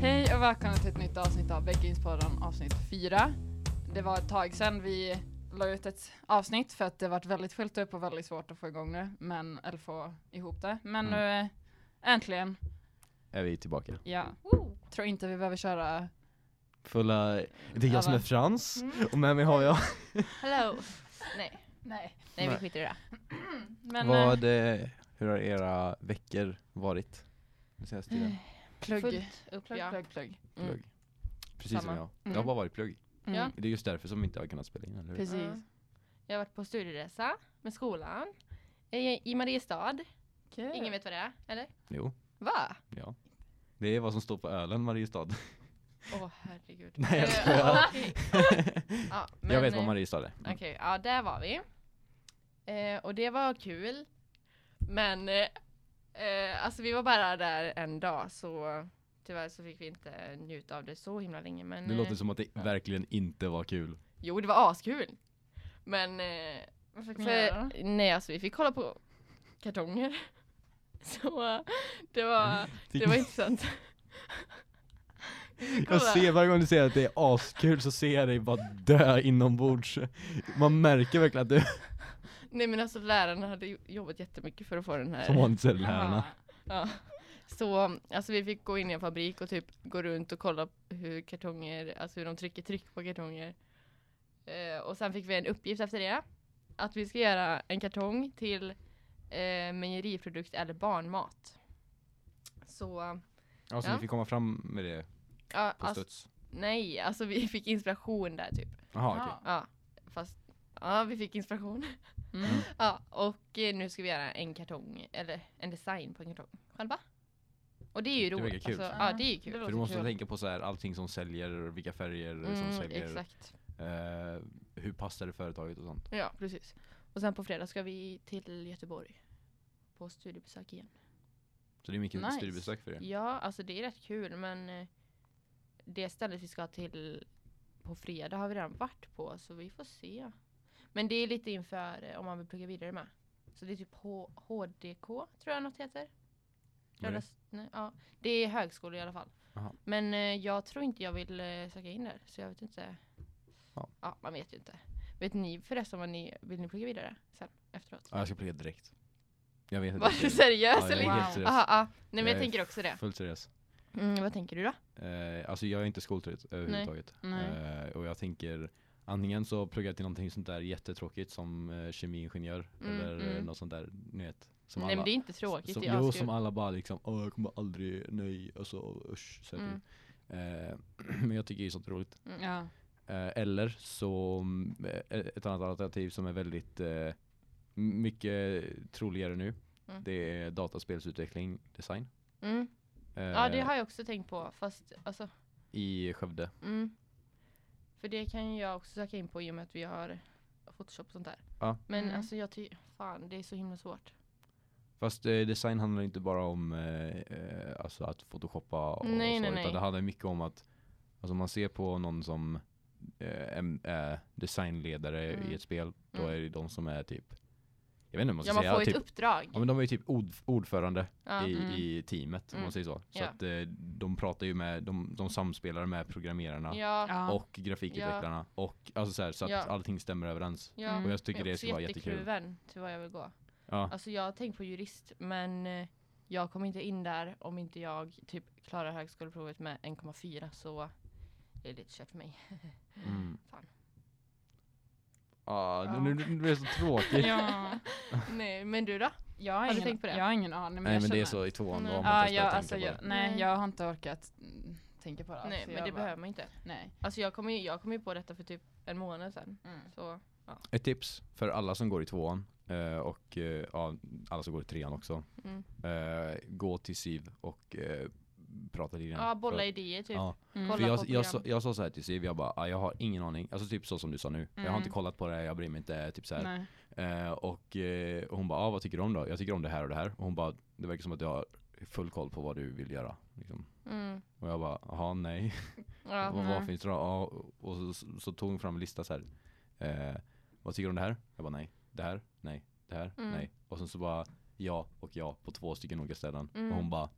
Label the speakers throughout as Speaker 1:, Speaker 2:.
Speaker 1: Hej och välkomna till ett nytt avsnitt av Bäckinspodden avsnitt 4. Det var ett tag sedan vi la ut ett avsnitt för att det varit väldigt fullt upp och väldigt svårt att få igång det, men, eller få ihop det. Men nu eh, äntligen,
Speaker 2: är vi tillbaka.
Speaker 1: ja. Tror inte vi behöver köra
Speaker 2: Fulla, det är jag som är
Speaker 1: Alla.
Speaker 2: Frans,
Speaker 3: Mm.
Speaker 2: och med mig har jag
Speaker 3: Hello! Nej,
Speaker 1: Nej.
Speaker 3: nej vi
Speaker 2: Nej.
Speaker 3: skiter i det.
Speaker 1: Men eh,
Speaker 2: Vad, eh, hur har era veckor varit? Den senaste tiden?
Speaker 1: plugg. Plugg,
Speaker 3: Fullt upp
Speaker 1: plugg,
Speaker 3: ja.
Speaker 1: plugg.
Speaker 3: Eh, Mm.
Speaker 2: Plugg. Precis
Speaker 1: Samma.
Speaker 2: som jag. Det har
Speaker 1: Mm.
Speaker 2: bara varit plugg.
Speaker 1: Mm.
Speaker 3: Ja.
Speaker 2: Det är just därför som vi inte har kunnat spela in, eller hur?
Speaker 1: Precis.
Speaker 3: Ja. Jag har varit på studieresa med skolan i, i Mariestad. Ingen vet vad det är, eller?
Speaker 2: Jo,
Speaker 3: Va?
Speaker 2: ja. Det är vad som står på ölen, Mariestad.
Speaker 3: Åh herregud.
Speaker 2: Nej, jag
Speaker 3: Eh,
Speaker 2: skojar.
Speaker 3: okej. ja, men,
Speaker 2: jag vet vad
Speaker 3: eh,
Speaker 2: Mariestad är. Mm.
Speaker 3: Okej, ja där var vi. Eh, och det var kul. Men eh, eh, alltså vi var bara där en dag så tyvärr så fick vi inte njuta av det så himla länge. Men,
Speaker 2: Det
Speaker 3: eh,
Speaker 2: låter som att det verkligen inte var kul.
Speaker 3: Jo, det var askul. Men... Eh,
Speaker 1: Vad fick ni göra?
Speaker 3: för, nej, alltså vi fick kolla på kartonger. Så eh, det var, det
Speaker 2: Fick
Speaker 3: var
Speaker 2: ni-
Speaker 3: intressant.
Speaker 2: Jag ser varje gång du säger att det är askul så ser jag dig bara dö inombords. Man märker verkligen att du,
Speaker 3: Nej men alltså lärarna hade jo- jobbat jättemycket för att få den här.
Speaker 2: som vanligt så är det lärarna.
Speaker 1: Jaha.
Speaker 3: Ja. Så alltså vi fick gå in i en fabrik och typ gå runt och kolla hur kartonger, alltså hur de trycker tryck på kartonger. Eh, och sen fick vi en uppgift efter det. Att vi ska göra en kartong till eh, mejeriprodukt eller barnmat. Så,
Speaker 2: Ja, så ni
Speaker 3: Ja.
Speaker 2: Alltså, fick komma fram med det
Speaker 3: ja,
Speaker 2: på
Speaker 3: alltså,
Speaker 2: studs.
Speaker 3: nej, alltså vi fick inspiration där typ.
Speaker 2: Jaha, okej.
Speaker 1: Ja.
Speaker 3: Ja, fast, ja vi fick inspiration.
Speaker 1: Mm.
Speaker 3: Ja, och eh, nu ska vi göra en kartong, eller en design på en kartong själva. Och det är ju
Speaker 2: Det verkar
Speaker 3: roligt.
Speaker 2: kul.
Speaker 3: Alltså, ja, det är ju
Speaker 1: Det
Speaker 3: kul.
Speaker 2: För
Speaker 1: låter
Speaker 2: du måste
Speaker 1: kul.
Speaker 2: tänka på så här, allting som säljer, vilka färger som
Speaker 3: Mm,
Speaker 2: säljer,
Speaker 3: Exakt.
Speaker 2: eh, hur passar det företaget och sånt.
Speaker 3: Ja, precis. Och sen på fredag ska vi till Göteborg. På studiebesök igen.
Speaker 2: Så det är mycket
Speaker 1: Nice.
Speaker 2: studiebesök för er.
Speaker 3: Ja, alltså det är rätt kul men eh, det stället vi ska till på fredag har vi redan varit på så vi får se. Men det är lite inför eh, om man vill plugga vidare med. Så det är typ H- HDK tror jag något heter.
Speaker 2: Vad är det?
Speaker 3: Röda, nej, ja. Det är högskola i alla fall.
Speaker 2: Jaha.
Speaker 3: Men eh, jag tror inte jag vill eh, söka in där så jag vet inte.
Speaker 2: Ja.
Speaker 3: ja, man vet ju inte. Vet ni förresten vad ni vill ni plugga vidare sen efteråt?
Speaker 2: Ja, jag ska plugga direkt. Jag vet
Speaker 3: Var du seriös
Speaker 2: Ja, jag
Speaker 3: eller?
Speaker 2: är
Speaker 1: Wow.
Speaker 2: helt seriös.
Speaker 3: Aha, ja. Nej men
Speaker 2: Jag
Speaker 3: jag,
Speaker 2: är
Speaker 3: tänker också det.
Speaker 2: Fullt seriös.
Speaker 3: Mm, vad tänker du då?
Speaker 2: Eh, alltså jag är inte skoltrött överhuvudtaget.
Speaker 1: Nej.
Speaker 2: Eh, och jag tänker antingen så pluggar jag till någonting sånt där jättetråkigt som eh, kemiingenjör
Speaker 3: Mm,
Speaker 2: eller eh,
Speaker 3: mm.
Speaker 2: något sånt där, ni vet. Som
Speaker 3: Nej men det är inte tråkigt.
Speaker 2: Som,
Speaker 3: det är
Speaker 2: jo,
Speaker 3: askul.
Speaker 2: som alla bara liksom, åh jag kommer aldrig, nej, alltså usch. Så här
Speaker 3: Mm.
Speaker 2: typ. eh, men jag tycker ju sånt är roligt.
Speaker 1: Ja.
Speaker 2: Eh, eller så mm, eh, ett annat alternativ som är väldigt eh, mycket troligare nu.
Speaker 3: Mm.
Speaker 2: Det är dataspelsutveckling, design.
Speaker 3: mm.
Speaker 2: Eh,
Speaker 3: Ja det har jag också tänkt på fast alltså,
Speaker 2: I Skövde.
Speaker 3: mm. För det kan ju jag också söka in på i och med att vi har Photoshop och sånt där.
Speaker 2: Ja.
Speaker 3: Men
Speaker 1: Mm.
Speaker 3: alltså jag tycker, fan det är så himla svårt.
Speaker 2: Fast eh, design handlar inte bara om eh, eh, alltså att photoshoppa och
Speaker 3: Nej,
Speaker 2: så,
Speaker 3: nej,
Speaker 2: utan
Speaker 3: nej.
Speaker 2: det handlar mycket om att alltså man ser på någon som eh, em- är designledare
Speaker 3: Mm.
Speaker 2: i ett spel, då
Speaker 3: Mm.
Speaker 2: är det de som är typ, jag vet inte vad man ska
Speaker 3: Ja man
Speaker 2: säga,
Speaker 3: får ju
Speaker 2: typ,
Speaker 3: ett uppdrag.
Speaker 2: ja, men de är ju typ ord, ordförande
Speaker 3: Ja.
Speaker 2: i,
Speaker 1: Mm.
Speaker 2: i teamet om
Speaker 3: Mm.
Speaker 2: man säger så. Så
Speaker 3: Ja.
Speaker 2: att eh, de pratar ju med, de, de samspelar med programmerarna
Speaker 3: Ja.
Speaker 1: Ja.
Speaker 2: och grafikutvecklarna och alltså så, här, så att
Speaker 3: Ja.
Speaker 2: allting stämmer överens.
Speaker 3: ja.
Speaker 1: Mm.
Speaker 2: Och jag tycker
Speaker 3: Men
Speaker 2: det
Speaker 3: också
Speaker 2: ska vara jättekul.
Speaker 3: jättekluven till vad jag vill gå.
Speaker 2: Ja.
Speaker 3: Alltså jag har tänkt på jurist men eh, jag kommer inte in där om inte jag typ klarar högskoleprovet med 1,4 så det är lite kört för mig.
Speaker 2: Mm.
Speaker 3: Fan.
Speaker 2: Ah,
Speaker 1: Ja.
Speaker 2: nu, nu, nu är det så tråkigt.
Speaker 1: ja.
Speaker 3: Nej men du då?
Speaker 1: Jag har,
Speaker 3: du
Speaker 1: ingen,
Speaker 3: tänkt på det?
Speaker 1: Jag har ingen aning. Men
Speaker 2: Nej
Speaker 1: jag
Speaker 2: men det är
Speaker 1: känner-
Speaker 2: så i tvåan, då
Speaker 3: Nej.
Speaker 2: har man
Speaker 1: Ja,
Speaker 2: inte ens
Speaker 1: jag,
Speaker 2: börjat
Speaker 1: alltså,
Speaker 2: tänka på
Speaker 1: jag,
Speaker 2: det.
Speaker 1: nej,
Speaker 3: Nej.
Speaker 1: jag har inte orkat mm, tänka på det alls.
Speaker 3: Nej
Speaker 1: jag
Speaker 3: men det
Speaker 1: bara-
Speaker 3: behöver man inte.
Speaker 1: Nej.
Speaker 3: Alltså jag kom ju, jag kom ju på detta för typ en månad sedan. Så
Speaker 2: Ett tips för alla som går i tvåan eh, och eh, ja, alla som går i trean också.
Speaker 3: mm.
Speaker 2: Eh, Gå till SIV och eh, prata lite grann.
Speaker 3: ja,
Speaker 2: För
Speaker 3: bolla
Speaker 2: att-
Speaker 3: idéer typ.
Speaker 2: Ja.
Speaker 1: Mm.
Speaker 3: Kolla
Speaker 2: För jag,
Speaker 3: på
Speaker 2: jag, sa,
Speaker 3: program.
Speaker 2: jag sa så här till Siv, jag bara, "Ah, jag har ingen aning. Alltså typ så som du sa nu. Jag har
Speaker 1: Mm.
Speaker 2: inte kollat på det, här, jag bryr mig inte. Typ så här.
Speaker 1: Nej.
Speaker 2: Eh, och, eh, och hon bara, ah, vad tycker du om då? Jag tycker om det här och det här. Och hon bara, det verkar som att du har full koll på vad du vill göra. Liksom.
Speaker 3: Mm.
Speaker 2: Och jag bara, jaha nej.
Speaker 3: Ja.
Speaker 2: vad,
Speaker 1: nej.
Speaker 2: vad finns det då? Ja, och så, så, så tog hon fram en lista så här. Eh, vad tycker du om det här? Jag bara, nej. Det här? Nej. Det här?
Speaker 3: Mm.
Speaker 2: Nej. Och sen så bara, ja och ja på två stycken olika ställen.
Speaker 3: Mm.
Speaker 2: Och hon bara,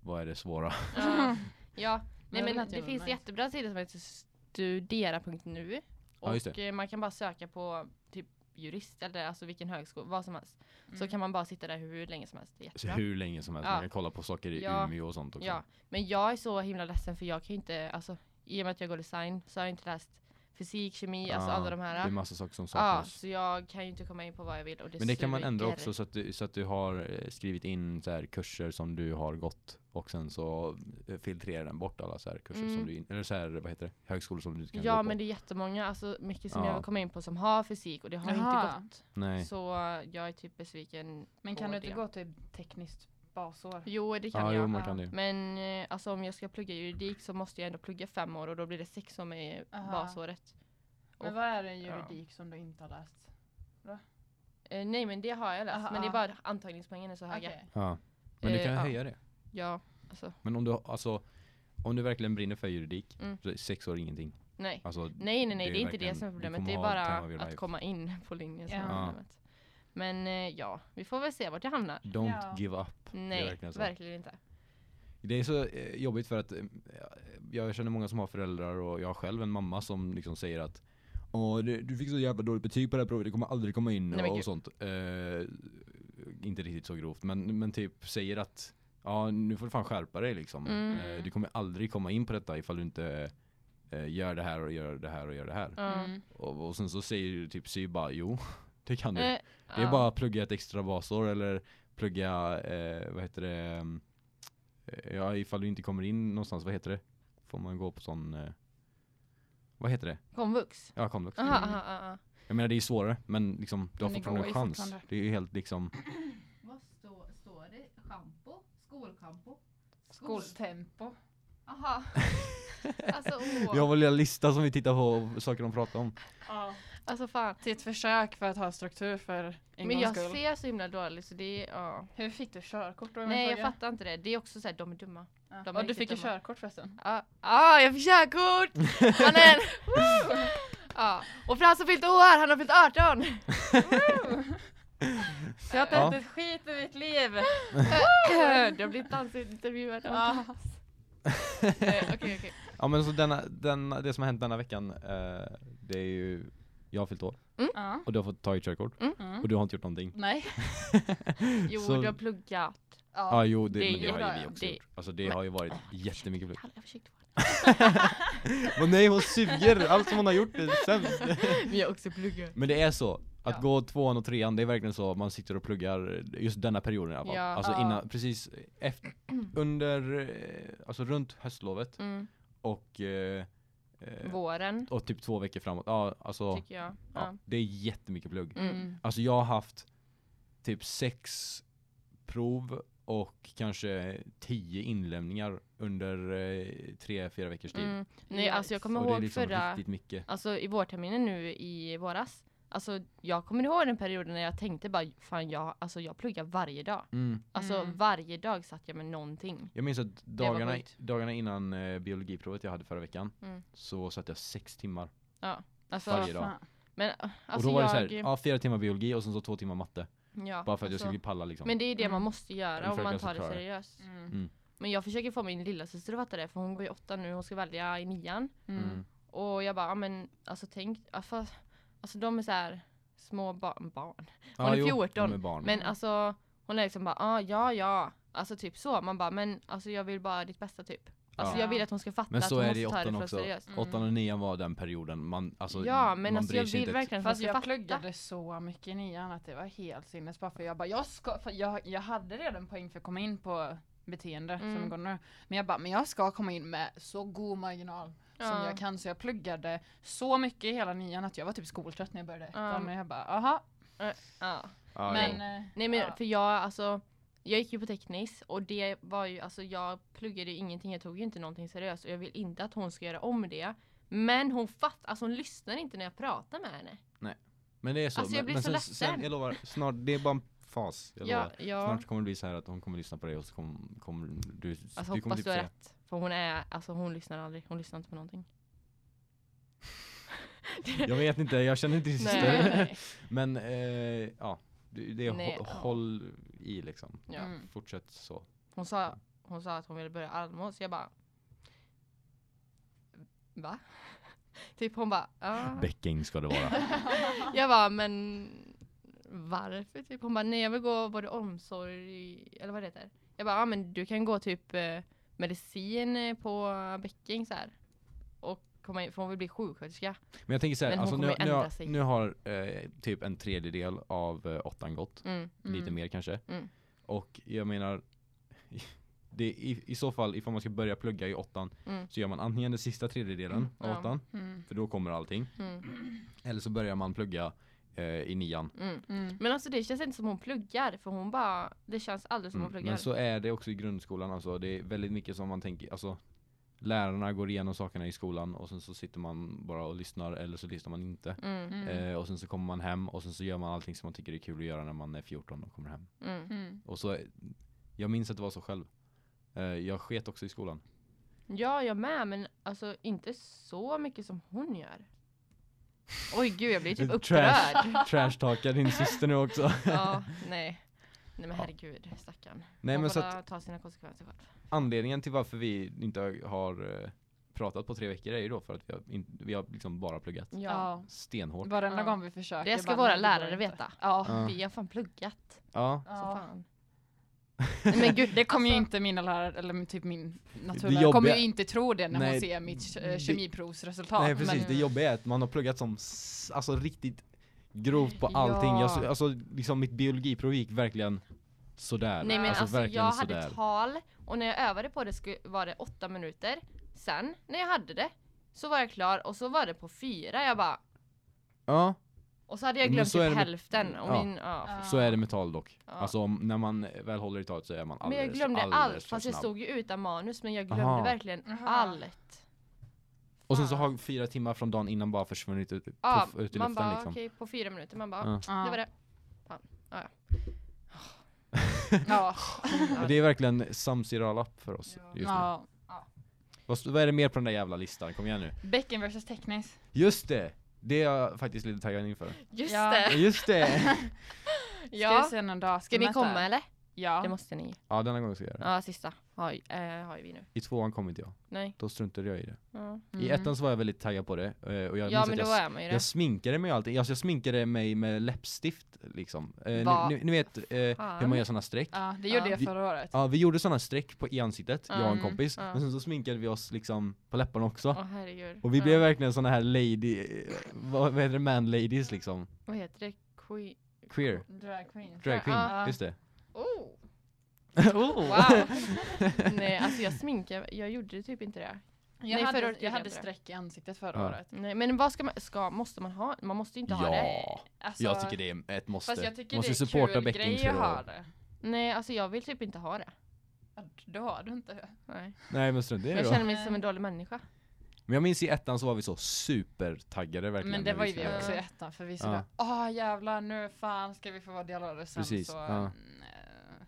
Speaker 2: vad är det svåra?
Speaker 3: Ja. Ja,
Speaker 1: det
Speaker 3: nej men
Speaker 1: lät
Speaker 3: det
Speaker 1: ju
Speaker 3: finns
Speaker 1: nice.
Speaker 3: jättebra sidor som heter studera.nu
Speaker 2: Ja, just
Speaker 3: och eh, man kan bara söka på typ jurist eller alltså vilken högskola, vad som helst. Så
Speaker 1: Mm.
Speaker 3: kan man bara sitta där hur länge som helst. Det är
Speaker 2: Så
Speaker 3: jättebra.
Speaker 2: hur länge som helst.
Speaker 3: Ja.
Speaker 2: Man kan kolla på saker i
Speaker 3: Ja.
Speaker 2: Umeå och sånt också.
Speaker 3: Ja, men jag är så himla ledsen för jag kan ju inte, alltså i och med att jag går design så har jag inte läst fysik, kemi, alltså
Speaker 2: Ah,
Speaker 3: alla de
Speaker 2: Det är
Speaker 3: här.
Speaker 2: massa saker som
Speaker 3: Ja,
Speaker 2: saknas.
Speaker 3: så jag kan ju inte komma in på vad jag vill och det
Speaker 2: Men det kan man ändra
Speaker 3: suger.
Speaker 2: också så att du, så att du har eh, skrivit in så här kurser som du har gått och sen så eh, filtrerar den bort alla så här kurser
Speaker 3: Mm.
Speaker 2: som du, in- eller så här, vad heter det, högskolor som du inte kan gå
Speaker 3: Ja,
Speaker 2: på.
Speaker 3: men det är jättemånga, alltså mycket som
Speaker 2: Ja.
Speaker 3: jag vill komma in på som har fysik och det har ju inte
Speaker 1: Jaha.
Speaker 3: gått.
Speaker 2: Nej.
Speaker 3: Så jag är typ besviken.
Speaker 1: Men kan
Speaker 3: på
Speaker 1: du inte
Speaker 3: det.
Speaker 1: gå till tekniskt basår?
Speaker 3: Jo, det kan
Speaker 2: Ja,
Speaker 3: jag.
Speaker 2: jo, man
Speaker 1: ja.
Speaker 2: kan det.
Speaker 3: Men eh, alltså om jag ska plugga juridik så måste jag ändå plugga fem år och då blir det sex år med
Speaker 1: Aha.
Speaker 3: basåret.
Speaker 1: Men
Speaker 3: Och-
Speaker 1: vad är en
Speaker 3: ja.
Speaker 1: juridik som du inte har läst?
Speaker 3: Eh, nej men det har jag läst,
Speaker 1: Aha,
Speaker 3: men det är
Speaker 1: aha.
Speaker 3: bara antagningspoängen är så höga.
Speaker 1: Okej.
Speaker 2: Ja. Men du
Speaker 3: Eh,
Speaker 2: kan
Speaker 3: ja.
Speaker 2: höja det.
Speaker 3: Ja, alltså
Speaker 2: Men om du, har- alltså, om du verkligen brinner för juridik,
Speaker 3: Mm.
Speaker 2: så är sex år ingenting.
Speaker 3: nej.
Speaker 2: Alltså,
Speaker 3: Nej nej nej,
Speaker 2: Det
Speaker 3: det,
Speaker 2: är
Speaker 3: är inte
Speaker 2: verkligen-
Speaker 3: det som är
Speaker 2: du
Speaker 3: problemet.
Speaker 2: kommer
Speaker 3: Det är
Speaker 2: ha time of
Speaker 3: bara
Speaker 2: your
Speaker 3: att
Speaker 2: life.
Speaker 3: komma in på linjen som
Speaker 1: Ja.
Speaker 3: är
Speaker 2: Ja.
Speaker 3: problemet. Men eh, ja, vi får väl se vart det hamnar.
Speaker 2: don't
Speaker 1: Ja.
Speaker 2: give up.
Speaker 3: Nej,
Speaker 2: verkligen
Speaker 3: verkligen,
Speaker 2: så.
Speaker 3: inte.
Speaker 2: Det är så eh, jobbigt för att eh, jag känner många som har föräldrar och jag har själv en mamma som liksom säger att Åh, det, du fick så jävla dåligt betyg på det här provet, det kommer aldrig komma in
Speaker 3: Nej, men
Speaker 2: och,
Speaker 3: gud.
Speaker 2: sånt. Eh, inte riktigt så grovt, men, men typ säger att ja, nu får du fan skärpa dig liksom.
Speaker 3: Mm.
Speaker 2: Eh, du kommer aldrig komma in på detta ifall du inte eh, gör det här och gör det här och gör det här.
Speaker 3: Ja.
Speaker 1: Mm.
Speaker 2: Och, och sen så säger du typ Sy bara, jo, det kan du.
Speaker 3: Eh,
Speaker 2: Det är
Speaker 3: ja.
Speaker 2: bara att plugga ett extra basår eller plugga, eh, vad heter det, mm, eh, ja ifall du inte kommer in någonstans, vad heter det? Får man gå på sån, eh, vad heter det?
Speaker 3: Komvux.
Speaker 2: Ja, komvux.
Speaker 3: Aha,
Speaker 1: Mm.
Speaker 3: aha, aha.
Speaker 2: Jag menar det är svårare, men liksom du har
Speaker 1: Men det
Speaker 2: fortfarande
Speaker 1: går
Speaker 2: en
Speaker 1: ju
Speaker 2: chans.
Speaker 1: fortfarande.
Speaker 2: Det är ju helt liksom,
Speaker 4: Vad står, står det? Schampo? Skolkampo?
Speaker 1: Skoltempo.
Speaker 4: Aha.
Speaker 3: Alltså, åh.
Speaker 2: vi har vår lilla lista som vi tittar på, och saker de pratar om.
Speaker 3: alltså fan.
Speaker 1: Till ett försök för att ha struktur för en
Speaker 3: Men jag
Speaker 1: gångs skull.
Speaker 3: ser så himla dåligt så det är, ja.
Speaker 1: Hur fick du körkort då? är min
Speaker 3: Nej jag
Speaker 1: fråga.
Speaker 3: fattar inte det, det är också såhär, de är dumma.
Speaker 1: Ja.
Speaker 3: de är
Speaker 1: Och du
Speaker 3: riktigt
Speaker 1: fick ju
Speaker 3: dumma.
Speaker 1: körkort förresten.
Speaker 3: Ja, ah, jag fick körkort! Han är en... Woo! Ja. Och Frans har fyllt år, han har fyllt 18!
Speaker 1: Så jag har inte
Speaker 2: Ja.
Speaker 1: ätit skit i mitt liv.
Speaker 3: Du har blivit dansintervjuad av
Speaker 1: Ja.
Speaker 3: Thomas. Eh, Okej okej.
Speaker 2: Ja men så denna, denna, det som har hänt denna veckan, eh, det är ju, jag har fyllt år
Speaker 1: Ja.
Speaker 2: och du har fått ta i körkort
Speaker 1: Mm.
Speaker 2: och du har inte gjort någonting.
Speaker 1: Nej.
Speaker 3: Jo
Speaker 2: Så-
Speaker 3: du har pluggat.
Speaker 2: Ja
Speaker 1: Ja.
Speaker 2: jo, det,
Speaker 3: det är
Speaker 2: men det har ju
Speaker 3: jättebra.
Speaker 2: vi också
Speaker 3: Det-
Speaker 2: gjort. Alltså det har ju varit jättemycket plugg.
Speaker 3: Kalla jag försiktig.
Speaker 2: Och nej hon suger, allt som hon har gjort är sämst.
Speaker 3: Vi har också pluggat.
Speaker 2: Men det är så, att
Speaker 3: Ja.
Speaker 2: gå tvåan och trean det är verkligen så man sitter och pluggar just denna perioden i alla fall.
Speaker 3: Ja.
Speaker 2: Alltså
Speaker 1: Ja.
Speaker 2: innan, precis efter, under, eh, alltså runt höstlovet
Speaker 3: Mm.
Speaker 2: och eh, eh,
Speaker 3: Våren
Speaker 2: och typ två veckor framåt. Ja, alltså
Speaker 3: tycker jag.
Speaker 2: ja,
Speaker 3: Ja.
Speaker 2: det är jättemycket plugg.
Speaker 3: Mm.
Speaker 2: Alltså jag har haft typ sex prov och kanske tio inlämningar under eh, tre, fyra veckors tid.
Speaker 3: Mm. Nej alltså jag kommer
Speaker 2: och det är
Speaker 3: ihåg
Speaker 2: liksom
Speaker 3: förra
Speaker 2: riktigt mycket.
Speaker 3: Alltså i vårterminen nu i våras. Alltså jag kommer ihåg den perioden när jag tänkte bara fan jag, alltså, jag pluggar varje dag.
Speaker 2: Mm.
Speaker 3: Alltså
Speaker 1: Mm.
Speaker 3: varje dag satt jag med någonting.
Speaker 2: Jag minns att dagarna,
Speaker 3: sjukt.
Speaker 2: dagarna innan eh, biologiprovet jag hade förra veckan
Speaker 3: Mm.
Speaker 2: så satt jag sex timmar.
Speaker 3: Alltså,
Speaker 2: Varje dag.
Speaker 3: Men äh, alltså
Speaker 2: och då var det
Speaker 3: jag,
Speaker 2: så här, ja, fyra timmar biologi och sen så två timmar matte.
Speaker 3: ja,
Speaker 2: Bara för att jag
Speaker 3: alltså,
Speaker 2: skulle palla liksom.
Speaker 3: Men det är det
Speaker 1: Mm.
Speaker 3: man måste göra
Speaker 2: Försöka
Speaker 3: om man tar det
Speaker 2: förklara.
Speaker 3: seriöst.
Speaker 1: Mm.
Speaker 3: Men jag försöker få min lilla syster att fatta det för hon går i åtta nu hon ska välja i nian.
Speaker 1: Mm.
Speaker 2: mm.
Speaker 3: Och jag bara ja, men alltså tänk, ja, fast- alltså de är så här små barn. barn.
Speaker 2: Ja,
Speaker 3: Hon är
Speaker 2: jo,
Speaker 3: 14,
Speaker 2: de är barn.
Speaker 3: Men alltså hon är liksom bara ah, ja ja, alltså typ så. Man bara men alltså jag vill bara ditt bästa typ. Alltså
Speaker 1: Ja.
Speaker 3: jag vill att hon ska fatta
Speaker 2: Men
Speaker 3: att
Speaker 2: så
Speaker 3: hon
Speaker 2: är det
Speaker 3: måste
Speaker 2: i
Speaker 3: ta det
Speaker 2: åttan
Speaker 3: för
Speaker 2: också.
Speaker 3: seriöst.
Speaker 1: Mm.
Speaker 2: Åttan och nian var den perioden man, alltså,
Speaker 3: ja men
Speaker 2: man
Speaker 3: alltså
Speaker 2: bryr
Speaker 3: jag
Speaker 2: sig
Speaker 3: vill
Speaker 2: inte ett-
Speaker 3: verkligen att hon
Speaker 1: Fast
Speaker 3: ska
Speaker 1: jag
Speaker 3: fatta.
Speaker 1: pluggade så mycket i nian att det var helt sinnes. Bara för jag bara, jag, ska, för jag, jag hade redan poäng för att komma in på beteende som
Speaker 3: Mm.
Speaker 1: går nu. Men jag bara, men jag ska komma in med så god marginal som
Speaker 3: Ja.
Speaker 1: jag kan. Så jag pluggade så mycket i hela nian att jag var typ skoltrött när jag började ettan.
Speaker 3: Ja.
Speaker 1: Men jag bara, aha.
Speaker 3: Ja.
Speaker 2: Ja,
Speaker 1: men,
Speaker 2: jo.
Speaker 1: eh,
Speaker 3: Nej men
Speaker 1: ja.
Speaker 3: för jag alltså jag gick ju på teknis och det var ju alltså jag pluggade ju ingenting. Jag tog ju inte någonting seriöst och jag vill inte att hon ska göra om det. Men hon fattar, alltså hon lyssnar inte när jag pratar med henne.
Speaker 2: men det är så.
Speaker 3: Alltså, jag
Speaker 2: men,
Speaker 3: blir
Speaker 2: men
Speaker 3: så
Speaker 2: sen, sen,
Speaker 3: ledsen.
Speaker 2: jag lovar, snart, det är bara en fas. Jag
Speaker 3: Ja,
Speaker 2: lovar.
Speaker 3: ja.
Speaker 2: Snart kommer det bli så här att hon kommer lyssna på dig och så kommer, kommer du,
Speaker 3: Alltså
Speaker 2: du kommer
Speaker 3: hoppas
Speaker 2: typ
Speaker 3: du har
Speaker 2: säga
Speaker 3: rätt. För hon är, alltså hon lyssnar aldrig. Hon lyssnar inte på någonting.
Speaker 2: Jag vet inte, jag känner inte din
Speaker 3: Nej.
Speaker 2: syster. Men eh, ja, det det är
Speaker 3: Nej,
Speaker 2: hå-
Speaker 3: ja.
Speaker 2: håll i liksom.
Speaker 3: Ja.
Speaker 1: Mm.
Speaker 2: Fortsätt så.
Speaker 3: Hon sa, hon sa att hon ville börja Almås. Jag bara, va? Typ hon bara, ja.
Speaker 2: Bäcking ska det vara.
Speaker 3: Jag bara, men varför? Typ hon bara, nej jag vill gå både omsorg, eller vad det heter. Jag bara, ja men du kan gå typ eh, medicin eh, på Bäcking så här. Och komma in, för hon vill bli sjuksköterska.
Speaker 2: Men jag tänker så här,
Speaker 3: Men hon
Speaker 2: alltså, nu,
Speaker 3: kommer
Speaker 2: nu,
Speaker 3: ändra
Speaker 2: har,
Speaker 3: sig.
Speaker 2: nu har eh, typ en tredjedel av eh, åttan gått.
Speaker 3: Mm.
Speaker 2: Lite
Speaker 1: Mm.
Speaker 2: mer kanske.
Speaker 3: Mm.
Speaker 2: Och jag menar, det, i, i så fall ifall man ska börja plugga i åttan
Speaker 3: Mm.
Speaker 2: så gör man antingen den sista tredjedelen
Speaker 3: Mm,
Speaker 2: av
Speaker 3: ja.
Speaker 2: åttan,
Speaker 1: Mm.
Speaker 2: för då kommer allting.
Speaker 3: Mm.
Speaker 2: Eller så börjar man plugga eh, i nian.
Speaker 3: Mm.
Speaker 1: Mm.
Speaker 3: Men alltså det känns inte som hon pluggar för hon bara, det känns aldrig som hon
Speaker 2: Mm.
Speaker 3: pluggar.
Speaker 2: Men så är det också i grundskolan. Alltså. Det är väldigt mycket som man tänker, alltså lärarna går igenom sakerna i skolan och sen så sitter man bara och lyssnar eller så lyssnar man inte.
Speaker 3: Mm.
Speaker 1: Mm.
Speaker 2: Eh, och sen så kommer man hem och sen så gör man allting som man tycker är kul att göra när man är 14 och kommer hem.
Speaker 3: Mm.
Speaker 1: Mm.
Speaker 2: Och så, jag minns att det var så själv. Eh, jag sket också i skolan.
Speaker 3: Ja, jag med, men alltså inte så mycket som hon gör. Oj gud, jag blir typ
Speaker 2: Trash.
Speaker 3: upprörd.
Speaker 2: Trashtalkar din syster nu också.
Speaker 3: ja, nej. Nej men herregud, stackarn.
Speaker 2: Nej
Speaker 3: hon
Speaker 2: men
Speaker 3: får
Speaker 2: så att
Speaker 3: ta- ta sina konsekvenser själv.
Speaker 2: anledningen till varför vi inte har eh, pratat på tre veckor är ju då för att vi har, in, vi har liksom bara pluggat.
Speaker 3: Ja.
Speaker 1: Ja.
Speaker 2: Stenhårt.
Speaker 1: Varenda
Speaker 3: Ja.
Speaker 1: gång vi försöker.
Speaker 3: Det
Speaker 1: bara,
Speaker 3: ska våra
Speaker 1: nej, det går
Speaker 3: lärare
Speaker 1: inte.
Speaker 3: veta.
Speaker 1: Ja.
Speaker 2: Ja.
Speaker 3: Vi har fan pluggat.
Speaker 2: Ja.
Speaker 3: Så fan.
Speaker 1: Nej, Men gud, det kommer ju
Speaker 3: Alltså-
Speaker 1: inte mina lärare, eller typ min
Speaker 2: Det
Speaker 1: naturlärare,
Speaker 2: jobbiga-
Speaker 1: kommer ju inte tro det när
Speaker 2: Nej,
Speaker 1: hon ser mitt eh,
Speaker 2: det-
Speaker 1: kemiprovsresultat.
Speaker 2: Nej precis,
Speaker 1: Men,
Speaker 2: det jobbiga är att man har pluggat som s- alltså riktigt grovt på allting.
Speaker 3: Ja.
Speaker 2: Jag, så- alltså liksom mitt biologiprov gick verkligen sådär.
Speaker 3: Nej men alltså,
Speaker 2: verkligen
Speaker 3: jag hade
Speaker 2: sådär.
Speaker 3: tal och när jag övade på det sku- var det åtta minuter. Sen när jag hade det så var jag klar och så var det på fyra. Jag bara,
Speaker 2: Ja.
Speaker 3: och så hade jag
Speaker 2: Men
Speaker 3: glömt
Speaker 2: så är det
Speaker 3: typ
Speaker 2: med-
Speaker 3: hälften. Och
Speaker 2: Ja.
Speaker 3: min, ja,
Speaker 4: Ja.
Speaker 2: Så är det med tal dock.
Speaker 3: Ja.
Speaker 2: Alltså om, när man väl håller i talet så är man
Speaker 3: Men
Speaker 2: alldeles,
Speaker 3: jag glömde allt,
Speaker 2: alldeles för
Speaker 3: fast jag
Speaker 2: snabb.
Speaker 3: stod ju utan manus men jag glömde
Speaker 2: Aha.
Speaker 3: verkligen
Speaker 1: Aha.
Speaker 3: allt.
Speaker 2: Och sen så har fyra timmar från dagen innan bara försvunnit ut,
Speaker 3: Ja,
Speaker 2: puff, ut i
Speaker 3: man
Speaker 2: luften
Speaker 3: bara
Speaker 2: liksom.
Speaker 3: okej på fyra minuter, man bara
Speaker 2: Ja.
Speaker 1: ja.
Speaker 3: det var det.
Speaker 1: Ja.
Speaker 2: Men Det är verkligen samsiralapp för oss
Speaker 4: Ja.
Speaker 2: just nu.
Speaker 1: ja.
Speaker 2: Vad, vad är det mer på den där jävla listan? Kom igen nu.
Speaker 1: Bäcken versus Tecknis.
Speaker 2: Just det! Det är jag faktiskt lite taggad inför.
Speaker 3: Just
Speaker 1: Ja.
Speaker 2: Ja,
Speaker 3: det!
Speaker 2: Just det!
Speaker 1: Ska vi
Speaker 3: Ja.
Speaker 1: se någon dag?
Speaker 3: Ska ni komma eller? Det
Speaker 1: Ja.
Speaker 3: måste ni.
Speaker 2: Ja denna gången ska jag göra det.
Speaker 3: Ja, sista har, ju- eh, har ju vi nu.
Speaker 2: I tvåan kom inte jag.
Speaker 3: Nej.
Speaker 2: Då struntade jag i det.
Speaker 3: Ja,
Speaker 2: I
Speaker 1: Mm.
Speaker 2: ettan så var jag väldigt taggad på det. eh, Och jag
Speaker 3: ja
Speaker 2: minns
Speaker 3: men
Speaker 2: att
Speaker 3: då
Speaker 2: jag, s-
Speaker 3: är man ju det.
Speaker 2: jag sminkade mig och allting. Alltså jag sminkade mig med läppstift liksom. Eh,
Speaker 3: Va
Speaker 2: ni, ni, ni vet eh, hur
Speaker 3: fan?
Speaker 2: man gör sådana streck.
Speaker 1: Mm. Ja, det gjorde
Speaker 3: Ja.
Speaker 1: jag förra året.
Speaker 2: Ja, vi gjorde sådana streck på i ansiktet, jag och en
Speaker 1: Mm,
Speaker 2: kompis.
Speaker 3: ja.
Speaker 2: Men sen så sminkade vi oss liksom på läpparna också.
Speaker 3: Åh herregud.
Speaker 2: Och vi
Speaker 3: Ja.
Speaker 2: blev verkligen såna här lady, eh, vad vad heter det, man ladies liksom.
Speaker 3: Vad heter det? Queen?
Speaker 2: Queer,
Speaker 1: Drag queen.
Speaker 2: drag queen,
Speaker 3: Ja.
Speaker 2: just det.
Speaker 3: Oh!
Speaker 2: oh.
Speaker 3: Wow! Nej alltså jag sminkar, jag gjorde typ inte det.
Speaker 1: Jag,
Speaker 3: Nej, förra
Speaker 1: hade,
Speaker 3: året gjorde
Speaker 1: jag
Speaker 3: jag
Speaker 1: hade
Speaker 3: inte det.
Speaker 1: streck i ansiktet förra
Speaker 2: Ja.
Speaker 1: året.
Speaker 3: Nej men vad ska man, ska, måste man ha? Man måste ju inte ha det.
Speaker 2: Ja,
Speaker 1: Alltså,
Speaker 2: jag tycker det är ett måste.
Speaker 1: Fast jag tycker
Speaker 2: måste
Speaker 1: det är
Speaker 2: supporta
Speaker 1: kul
Speaker 2: Beck
Speaker 1: grej
Speaker 2: inför
Speaker 1: att ha
Speaker 2: det.
Speaker 1: det.
Speaker 3: Nej alltså jag vill typ inte ha det.
Speaker 1: Ja, Då har du inte det.
Speaker 3: Nej.
Speaker 2: Nej men strunt i det
Speaker 3: Jag
Speaker 2: då.
Speaker 3: känner mig som en dålig människa.
Speaker 2: Men jag minns i ettan så var vi så supertaggade verkligen.
Speaker 1: Men det
Speaker 2: när
Speaker 1: var ju
Speaker 2: skulle
Speaker 1: vi
Speaker 3: det.
Speaker 2: göra
Speaker 1: också i
Speaker 2: det.
Speaker 1: ettan för vi
Speaker 2: Ja.
Speaker 1: såg åh jävlar nu fan ska vi få vara delare sen
Speaker 2: Precis,
Speaker 1: så.
Speaker 2: ja.
Speaker 1: mm, eh,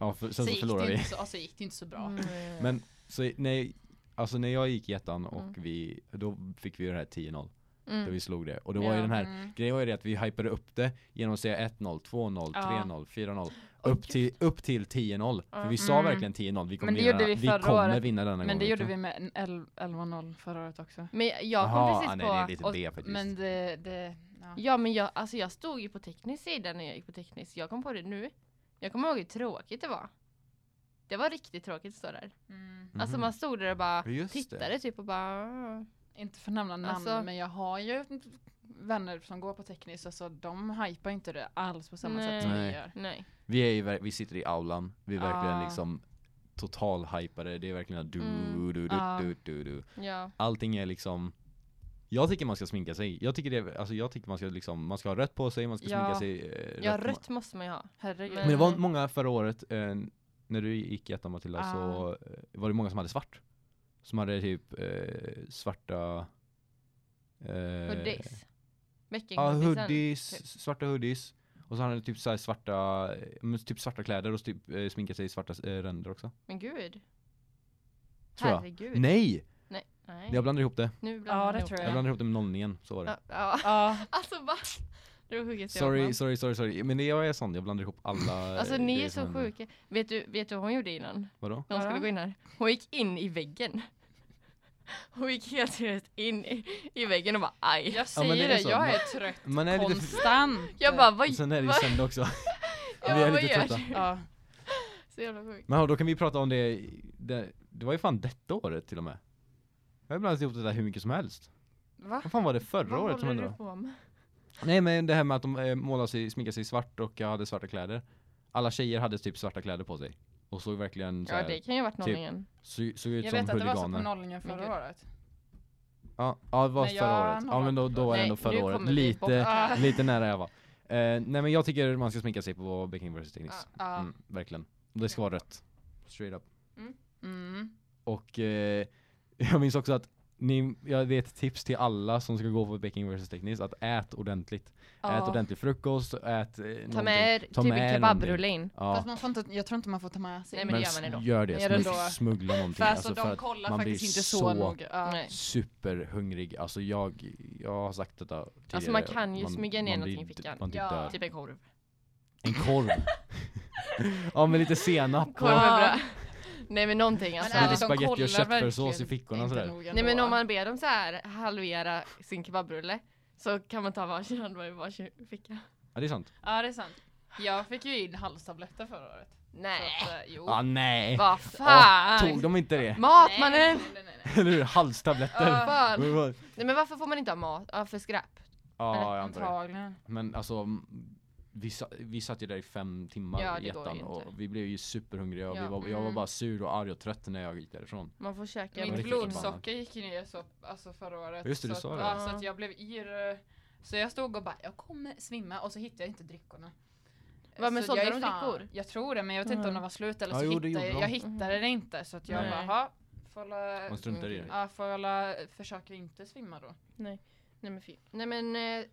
Speaker 2: Ja, för, sen
Speaker 1: så
Speaker 2: så
Speaker 1: gick
Speaker 2: förlorade
Speaker 1: det
Speaker 2: vi.
Speaker 1: Inte så, ja, så gick det inte så bra.
Speaker 3: Mm.
Speaker 2: Men så i- nej, alltså när jag gick i ettan och
Speaker 3: Mm.
Speaker 2: vi, då fick vi ju det här 10-0. Då
Speaker 3: Mm.
Speaker 2: vi slog det. Och det var ju
Speaker 3: Ja.
Speaker 2: den här
Speaker 1: Mm.
Speaker 2: Grejen var ju det att vi hypade upp det genom att säga 1-0, 2-0,
Speaker 1: Ja.
Speaker 2: 3-0, 4-0,
Speaker 3: Åh,
Speaker 2: upp till, upp till 10-0. För
Speaker 3: Ja.
Speaker 2: vi sa
Speaker 1: Mm.
Speaker 2: verkligen 10-0, vi kommer,
Speaker 1: Men det
Speaker 2: vinna,
Speaker 1: gjorde
Speaker 2: vi
Speaker 1: vi förra
Speaker 2: kommer
Speaker 1: året.
Speaker 2: vinna denna
Speaker 1: Men
Speaker 2: gången.
Speaker 1: det gjorde vi med en el- 11-0 förra året också.
Speaker 3: Men jag kom
Speaker 2: Jaha,
Speaker 3: precis
Speaker 2: ah, nej,
Speaker 3: på...
Speaker 2: det är lite
Speaker 3: och,
Speaker 2: B faktiskt.
Speaker 1: Men det, det ja.
Speaker 3: ja men jag, alltså jag stod ju på teknisk sida när jag gick på teknisk. Jag kom på det nu. Jag kommer ihåg hur tråkigt det var. Det var riktigt tråkigt att stå där.
Speaker 1: Mm.
Speaker 3: Alltså
Speaker 2: Mhm.
Speaker 3: man stod där och bara
Speaker 2: Just det.
Speaker 3: tittade typ och bara... "Ah."
Speaker 1: Inte för att nämna namn
Speaker 3: Alltså-
Speaker 1: men jag har ju vänner som går på tekniskt alltså de hypar inte det alls på samma sätt som
Speaker 2: Nej.
Speaker 1: vi gör.
Speaker 3: "Ah." Nej.
Speaker 2: Vi, är ju, ver- vi sitter i aulan, vi är verkligen
Speaker 1: Ah.
Speaker 2: liksom totalhypade, det är verkligen du,
Speaker 3: Mm.
Speaker 2: du, du,
Speaker 1: Ah.
Speaker 2: du, du, du.
Speaker 3: Ja.
Speaker 2: Allting är liksom jag tycker man ska sminka sig. Jag tycker, det, alltså jag tycker man, ska liksom, man ska ha rött på sig, man ska
Speaker 1: Ja.
Speaker 2: sminka sig. eh,
Speaker 3: Ja
Speaker 2: rätt.
Speaker 3: rött måste man ju ha.
Speaker 1: Herregud.
Speaker 2: Men det var
Speaker 3: Mm.
Speaker 2: många förra året, eh, när du gick i ettan Matilda, så eh, var det många som hade svart. Som hade typ eh, svarta... Eh,
Speaker 3: Hoodies.
Speaker 2: Ja,
Speaker 3: Bäckenkompisen.
Speaker 2: hoodies,
Speaker 3: typ.
Speaker 2: svarta hoodies. Och så hade han typ så här svarta, eh, men typ svarta kläder och typ eh, sminkat sig i svarta eh, ränder också.
Speaker 3: Men gud.
Speaker 2: Tror jag.
Speaker 3: Herregud.
Speaker 2: Nej!
Speaker 3: Nej. Nej.
Speaker 2: Jag blandar ihop det
Speaker 3: Nu
Speaker 1: Ja,
Speaker 3: blandar
Speaker 1: det
Speaker 3: jag ihop
Speaker 1: tror
Speaker 2: Jag blandar ihop det med nollningen, så var det.
Speaker 3: Ja, ja.
Speaker 1: Ja,
Speaker 3: Alltså va? Det var sjukaste jag varit med
Speaker 2: Sorry,
Speaker 3: om.
Speaker 2: sorry, sorry, sorry. Men det- jag är sån, jag blandar ihop alla
Speaker 3: Alltså
Speaker 2: eh,
Speaker 3: ni
Speaker 2: grejer
Speaker 3: är så
Speaker 2: som händer.
Speaker 3: sjuka. Vet du, vet du vad hon gjorde innan?
Speaker 2: Vadå?
Speaker 3: När hon
Speaker 1: Vadå?
Speaker 3: skulle gå in här. Hon gick in i väggen. Hon gick helt seriöst in i, i väggen och bara aj.
Speaker 1: Jag
Speaker 2: men
Speaker 1: säger
Speaker 2: det är
Speaker 1: det,
Speaker 2: så.
Speaker 1: jag
Speaker 2: Man-
Speaker 1: är trött
Speaker 2: Man är lite för...
Speaker 1: konstant.
Speaker 3: Jag bara vad,
Speaker 2: Och sen är det ju
Speaker 3: vad,
Speaker 2: sämre också. vi
Speaker 3: jag bara,
Speaker 2: är
Speaker 3: vad
Speaker 2: lite
Speaker 3: gör
Speaker 2: trötta.
Speaker 3: du?
Speaker 1: Ja.
Speaker 3: Så jävla sjukt.
Speaker 2: Men hallå, då kan vi prata om det, i- det, det var ju fan detta året till och med. Jag har ibland ihop det där hur mycket som helst.
Speaker 1: Va?
Speaker 2: Vad fan var det förra
Speaker 3: Vad
Speaker 2: året som
Speaker 3: håller
Speaker 2: hände
Speaker 3: du
Speaker 2: då?
Speaker 3: på med?
Speaker 2: Nej men det här med att de eh, målade sig, sminkade sig i svart och jag hade svarta kläder. Alla tjejer hade typ svarta kläder på sig. Och såg verkligen så
Speaker 3: Ja
Speaker 2: här,
Speaker 3: det kan ju ha varit
Speaker 2: typ-
Speaker 3: nollningen.
Speaker 2: så, såg ut
Speaker 1: Jag
Speaker 2: som
Speaker 1: vet att det var så på
Speaker 2: huliganer.
Speaker 1: nollningen
Speaker 3: Men
Speaker 1: förra
Speaker 3: gud.
Speaker 1: året.
Speaker 2: Ja, ja, det var
Speaker 1: Nej,
Speaker 2: förra
Speaker 1: jag
Speaker 2: året. Ja
Speaker 1: har
Speaker 2: men då, då var det
Speaker 3: Nej,
Speaker 2: ändå
Speaker 3: nu
Speaker 2: förra året.
Speaker 3: kommer vi bort
Speaker 2: Lite,
Speaker 1: Ah.
Speaker 3: här.
Speaker 2: lite nära jag var. Eh, nej men jag tycker man ska sminka sig på Beijing vs Tennis.
Speaker 1: Ja.
Speaker 2: Mm, verkligen. Det ska vara rött. Straight up.
Speaker 1: Mm.
Speaker 2: Och eh, jag minns också att ni, jag vet ett tips till alla som ska gå på Baking vs Teknis att ät ordentligt. Ät
Speaker 1: Ja.
Speaker 2: ordentlig frukost, ät eh, någonting.
Speaker 3: Ta med typ
Speaker 2: Ta med
Speaker 3: en
Speaker 2: någonting.
Speaker 3: kebabrulle in.
Speaker 2: Ja,
Speaker 1: Fast man får inte, jag tror inte man får ta med sig.
Speaker 3: Nej, men
Speaker 2: men
Speaker 3: det gör man ändå.
Speaker 2: gör det.
Speaker 1: Gör det
Speaker 2: smug-
Speaker 1: ändå.
Speaker 2: Smuggla någonting.
Speaker 1: för alltså,
Speaker 2: alltså, för
Speaker 1: de
Speaker 2: att
Speaker 1: kollar
Speaker 2: man
Speaker 1: faktiskt
Speaker 2: blir
Speaker 1: inte så,
Speaker 2: så-
Speaker 1: noga. Ja.
Speaker 2: Typ
Speaker 3: Nej.
Speaker 2: superhungrig. Alltså jag, jag har sagt detta tidigare.
Speaker 3: Alltså, man kan ju smyga ner
Speaker 2: man blir
Speaker 3: någonting
Speaker 2: d-
Speaker 3: i fickan.
Speaker 2: Man typ
Speaker 1: Ja.
Speaker 2: dör.
Speaker 3: Typ en korv.
Speaker 2: En korv. ja med lite senap.
Speaker 3: Korv
Speaker 2: Och,
Speaker 3: är
Speaker 1: Ja.
Speaker 3: bra. Nej men någonting
Speaker 1: Men
Speaker 3: alltså.
Speaker 2: lite
Speaker 1: ärligt, de
Speaker 2: spagetti och
Speaker 1: kollar
Speaker 2: köttfärssås i
Speaker 1: verkligen
Speaker 2: fickorna
Speaker 1: inte
Speaker 2: sådär.
Speaker 1: noga
Speaker 3: Nej
Speaker 1: ändå.
Speaker 3: men om man ber dem så här halvera sin kebabrulle så kan man ta varsin handbar i varsin ficka.
Speaker 2: Ja det är sant.
Speaker 1: Ja det är sant. Jag fick ju in halstabletter förra året.
Speaker 3: Nej.
Speaker 1: Så att, eh, jo.
Speaker 2: Ah nej!
Speaker 3: Vad
Speaker 2: Ah,
Speaker 3: fan!
Speaker 2: tog de inte det?
Speaker 3: Matmannen!
Speaker 1: Nej, nej, nej, nej.
Speaker 2: Eller hur? Halstabletter.
Speaker 3: Vad fan.
Speaker 2: Det var-
Speaker 3: Nej men varför får man inte ha mat? Ja för skräp.
Speaker 2: Ja, jag antar det.
Speaker 1: Antagligen.
Speaker 2: Men alltså, m- vi, sa, vi satt ju där i fem timmar
Speaker 3: Ja,
Speaker 2: i
Speaker 3: det går
Speaker 2: ettan
Speaker 3: ju inte.
Speaker 2: och vi blev ju superhungriga och vi
Speaker 3: Ja.
Speaker 2: var, jag var
Speaker 1: Mm.
Speaker 2: bara sur och arg och trött när jag gick därifrån.
Speaker 3: Man får käka.
Speaker 2: var
Speaker 1: Mitt
Speaker 2: riktigt förbannad.
Speaker 1: blodsocker gick ju ner så, alltså förra året.
Speaker 2: Just det, du
Speaker 1: så,
Speaker 2: sa
Speaker 1: att-
Speaker 2: det.
Speaker 1: Ja, så att jag blev yr. eh, Så jag stod och bara, jag kommer svimma och så hittade jag inte drickorna.
Speaker 3: Va, men
Speaker 1: Så
Speaker 3: sålde
Speaker 1: jag är
Speaker 3: de
Speaker 1: fan-
Speaker 3: drickor?
Speaker 1: Jag tror det, men jag vet inte
Speaker 3: Mm.
Speaker 1: om de var slut eller
Speaker 2: Ja,
Speaker 1: så
Speaker 2: jo, det
Speaker 1: hittade
Speaker 2: gjorde
Speaker 1: jag,
Speaker 2: de.
Speaker 1: jag hittade det inte. Så att jag
Speaker 3: Nej.
Speaker 1: bara, "Ha, får la,
Speaker 2: Man struntar i det.
Speaker 1: Ja, får jag la, försöka inte svimma då.
Speaker 3: Nej men fy. Nej men, eh,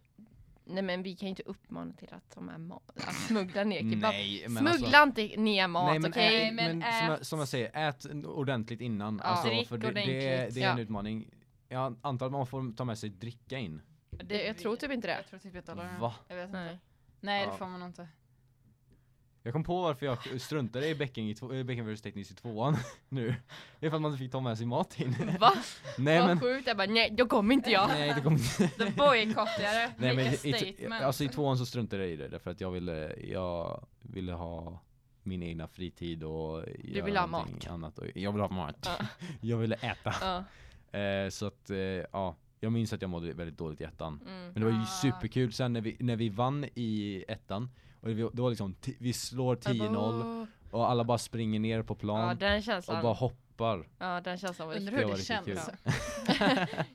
Speaker 3: nej men vi kan ju inte uppmana till att de är mat. Att smuggla ner kebab.
Speaker 2: Nej
Speaker 3: typ
Speaker 2: alltså-
Speaker 3: Smuggla inte ner mat
Speaker 2: nej, men,
Speaker 3: okej?
Speaker 2: ä,
Speaker 1: okej,
Speaker 2: men,
Speaker 1: men
Speaker 2: som, jag,
Speaker 1: ät.
Speaker 2: som jag säger, ät n- ordentligt innan.
Speaker 3: Ja.
Speaker 2: Alltså,
Speaker 1: Drick
Speaker 2: för det, det, är,
Speaker 1: ordentligt.
Speaker 2: det är en
Speaker 3: Ja.
Speaker 2: utmaning. Jag antar att man får ta med sig dricka in.
Speaker 3: Det, jag tror typ inte det.
Speaker 1: Jag tror typ inte alla gör det.
Speaker 2: Va?
Speaker 1: Jag vet
Speaker 3: Nej.
Speaker 1: inte. Nej
Speaker 2: Ja.
Speaker 1: det får man inte.
Speaker 2: Jag kom på varför jag struntade i Becking i två- eh, Becking vs Teknis i tvåan nu. Det är för att man inte fick ta med sig mat in.
Speaker 3: Va?
Speaker 2: Nej
Speaker 3: Vad
Speaker 2: men,
Speaker 3: sjukt. Jag bara nej då kommer inte jag.
Speaker 2: nej det kommer
Speaker 1: The boycottare,
Speaker 2: Nej, men
Speaker 1: make a
Speaker 2: i, i,
Speaker 1: statement.
Speaker 2: alltså i tvåan så struntade jag i det därför att jag ville, jag ville ha min egna fritid och göra
Speaker 3: ville ha
Speaker 2: någonting
Speaker 3: mat.
Speaker 2: annat. Och jag ville ha mat.
Speaker 3: Ja.
Speaker 2: jag ville äta.
Speaker 3: Ja.
Speaker 2: Eh, så att, eh, ja. Jag minns att jag mådde väldigt dåligt i ettan.
Speaker 3: Mm.
Speaker 2: Men det var ju
Speaker 1: Ah.
Speaker 2: superkul sen när vi, när vi vann i ettan. Och det, det var liksom, ti- vi slår 10-0 och alla bara springer ner på
Speaker 3: Ja
Speaker 2: plan
Speaker 3: den
Speaker 2: och
Speaker 3: känslan.
Speaker 2: bara hoppar.
Speaker 3: Ja den känslan var
Speaker 1: Undrar
Speaker 3: riktigt.
Speaker 2: det
Speaker 1: hur
Speaker 2: var
Speaker 1: det
Speaker 2: riktigt
Speaker 1: känns.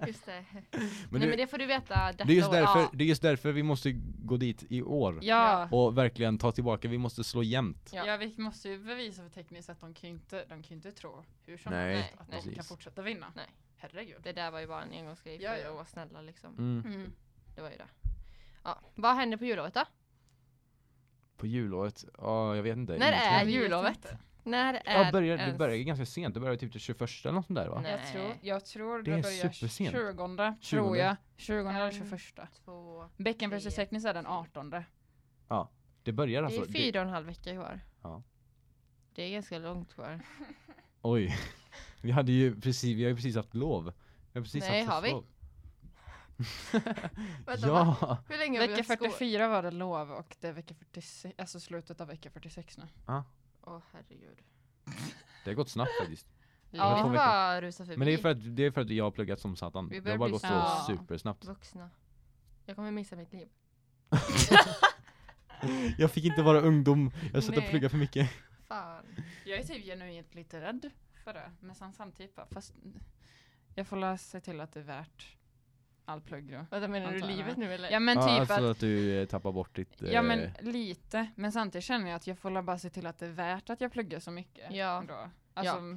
Speaker 3: Just det.
Speaker 2: Men
Speaker 3: nej
Speaker 2: det,
Speaker 3: men det får du veta detta
Speaker 2: det, är just
Speaker 3: år.
Speaker 2: därför,
Speaker 3: Ja.
Speaker 2: det är just därför vi måste gå dit i år.
Speaker 1: Ja.
Speaker 2: Och verkligen ta tillbaka, vi måste slå jämnt.
Speaker 3: Ja.
Speaker 1: Ja. vi måste ju bevisa för tekniskt att de kan ju inte, de kan ju inte tro hur som
Speaker 2: Nej,
Speaker 1: helst att de
Speaker 2: precis.
Speaker 1: kan fortsätta vinna.
Speaker 3: Nej.
Speaker 1: Herregud.
Speaker 3: Det där var ju bara en engångsgrej för
Speaker 1: Ja, ja.
Speaker 3: att vara snälla liksom.
Speaker 2: Mm.
Speaker 1: Mm.
Speaker 3: Det var ju det. Ja. Vad händer på jullovet då?
Speaker 2: På jullovet? Ja, jag vet inte.
Speaker 3: När
Speaker 2: Ingenting.
Speaker 3: är
Speaker 1: Jag vet
Speaker 3: jullovet?
Speaker 1: inte.
Speaker 3: När är
Speaker 2: Ja, börjar, det
Speaker 3: ens-
Speaker 2: börjar ju ganska sent, det börjar typ till 21 eller något sånt där va?
Speaker 3: Nej.
Speaker 1: Jag tror, jag tror det,
Speaker 2: Det är
Speaker 1: börjar
Speaker 2: supersent.
Speaker 1: 20,
Speaker 2: 20.
Speaker 1: tror jag. 20 eller
Speaker 3: Mm.
Speaker 1: 21.
Speaker 3: Två.
Speaker 2: Alltså,
Speaker 1: Bäcken
Speaker 3: Tre.
Speaker 1: vs Teknis är den 18.
Speaker 2: Det börjar
Speaker 3: Det
Speaker 2: alltså...
Speaker 3: är fyra och en halv vecka kvar.
Speaker 2: Ja.
Speaker 3: Det är ganska långt kvar.
Speaker 2: oj. Vi hade ju precis, vi har ju precis haft lov. Vi har precis
Speaker 3: Nej,
Speaker 2: haft
Speaker 3: har vi?
Speaker 2: höstlov.
Speaker 3: Vänta,
Speaker 2: ja!
Speaker 3: Hur länge har vi
Speaker 1: Vecka
Speaker 3: haft skol?
Speaker 1: 44 var det lov och det är vecka 46, alltså slutet av vecka 46 nu.
Speaker 3: Åh herregud.
Speaker 2: Det har gått snabbt faktiskt.
Speaker 1: Ja.
Speaker 3: Livet bara rusar förbi.
Speaker 2: Men det är för att, det är för att jag har pluggat som satan.
Speaker 3: Vi
Speaker 2: Det har
Speaker 3: börjar
Speaker 2: bara
Speaker 3: bli
Speaker 2: gått så
Speaker 1: så-
Speaker 2: supersnabbt.
Speaker 3: Vuxna. Jag kommer missa mitt liv.
Speaker 2: Jag fick inte vara ungdom, jag satt och
Speaker 3: Nej.
Speaker 2: pluggade för mycket.
Speaker 3: Fan.
Speaker 1: Jag är typ genuint lite rädd för det. Men sen samtidigt bara, fast jag får läsa se till att det är värt all plugg då.
Speaker 3: Vänta menar du
Speaker 1: Antar jag.
Speaker 3: livet nu eller?
Speaker 1: Ja men typ
Speaker 2: ja,
Speaker 1: att
Speaker 2: alltså att du eh, tappar bort ditt...
Speaker 1: Ja men
Speaker 2: eh,
Speaker 1: lite, men samtidigt känner jag att jag får la bara se till att det är värt att jag pluggar så mycket.
Speaker 3: Ja.
Speaker 1: Ändå. Alltså, ja.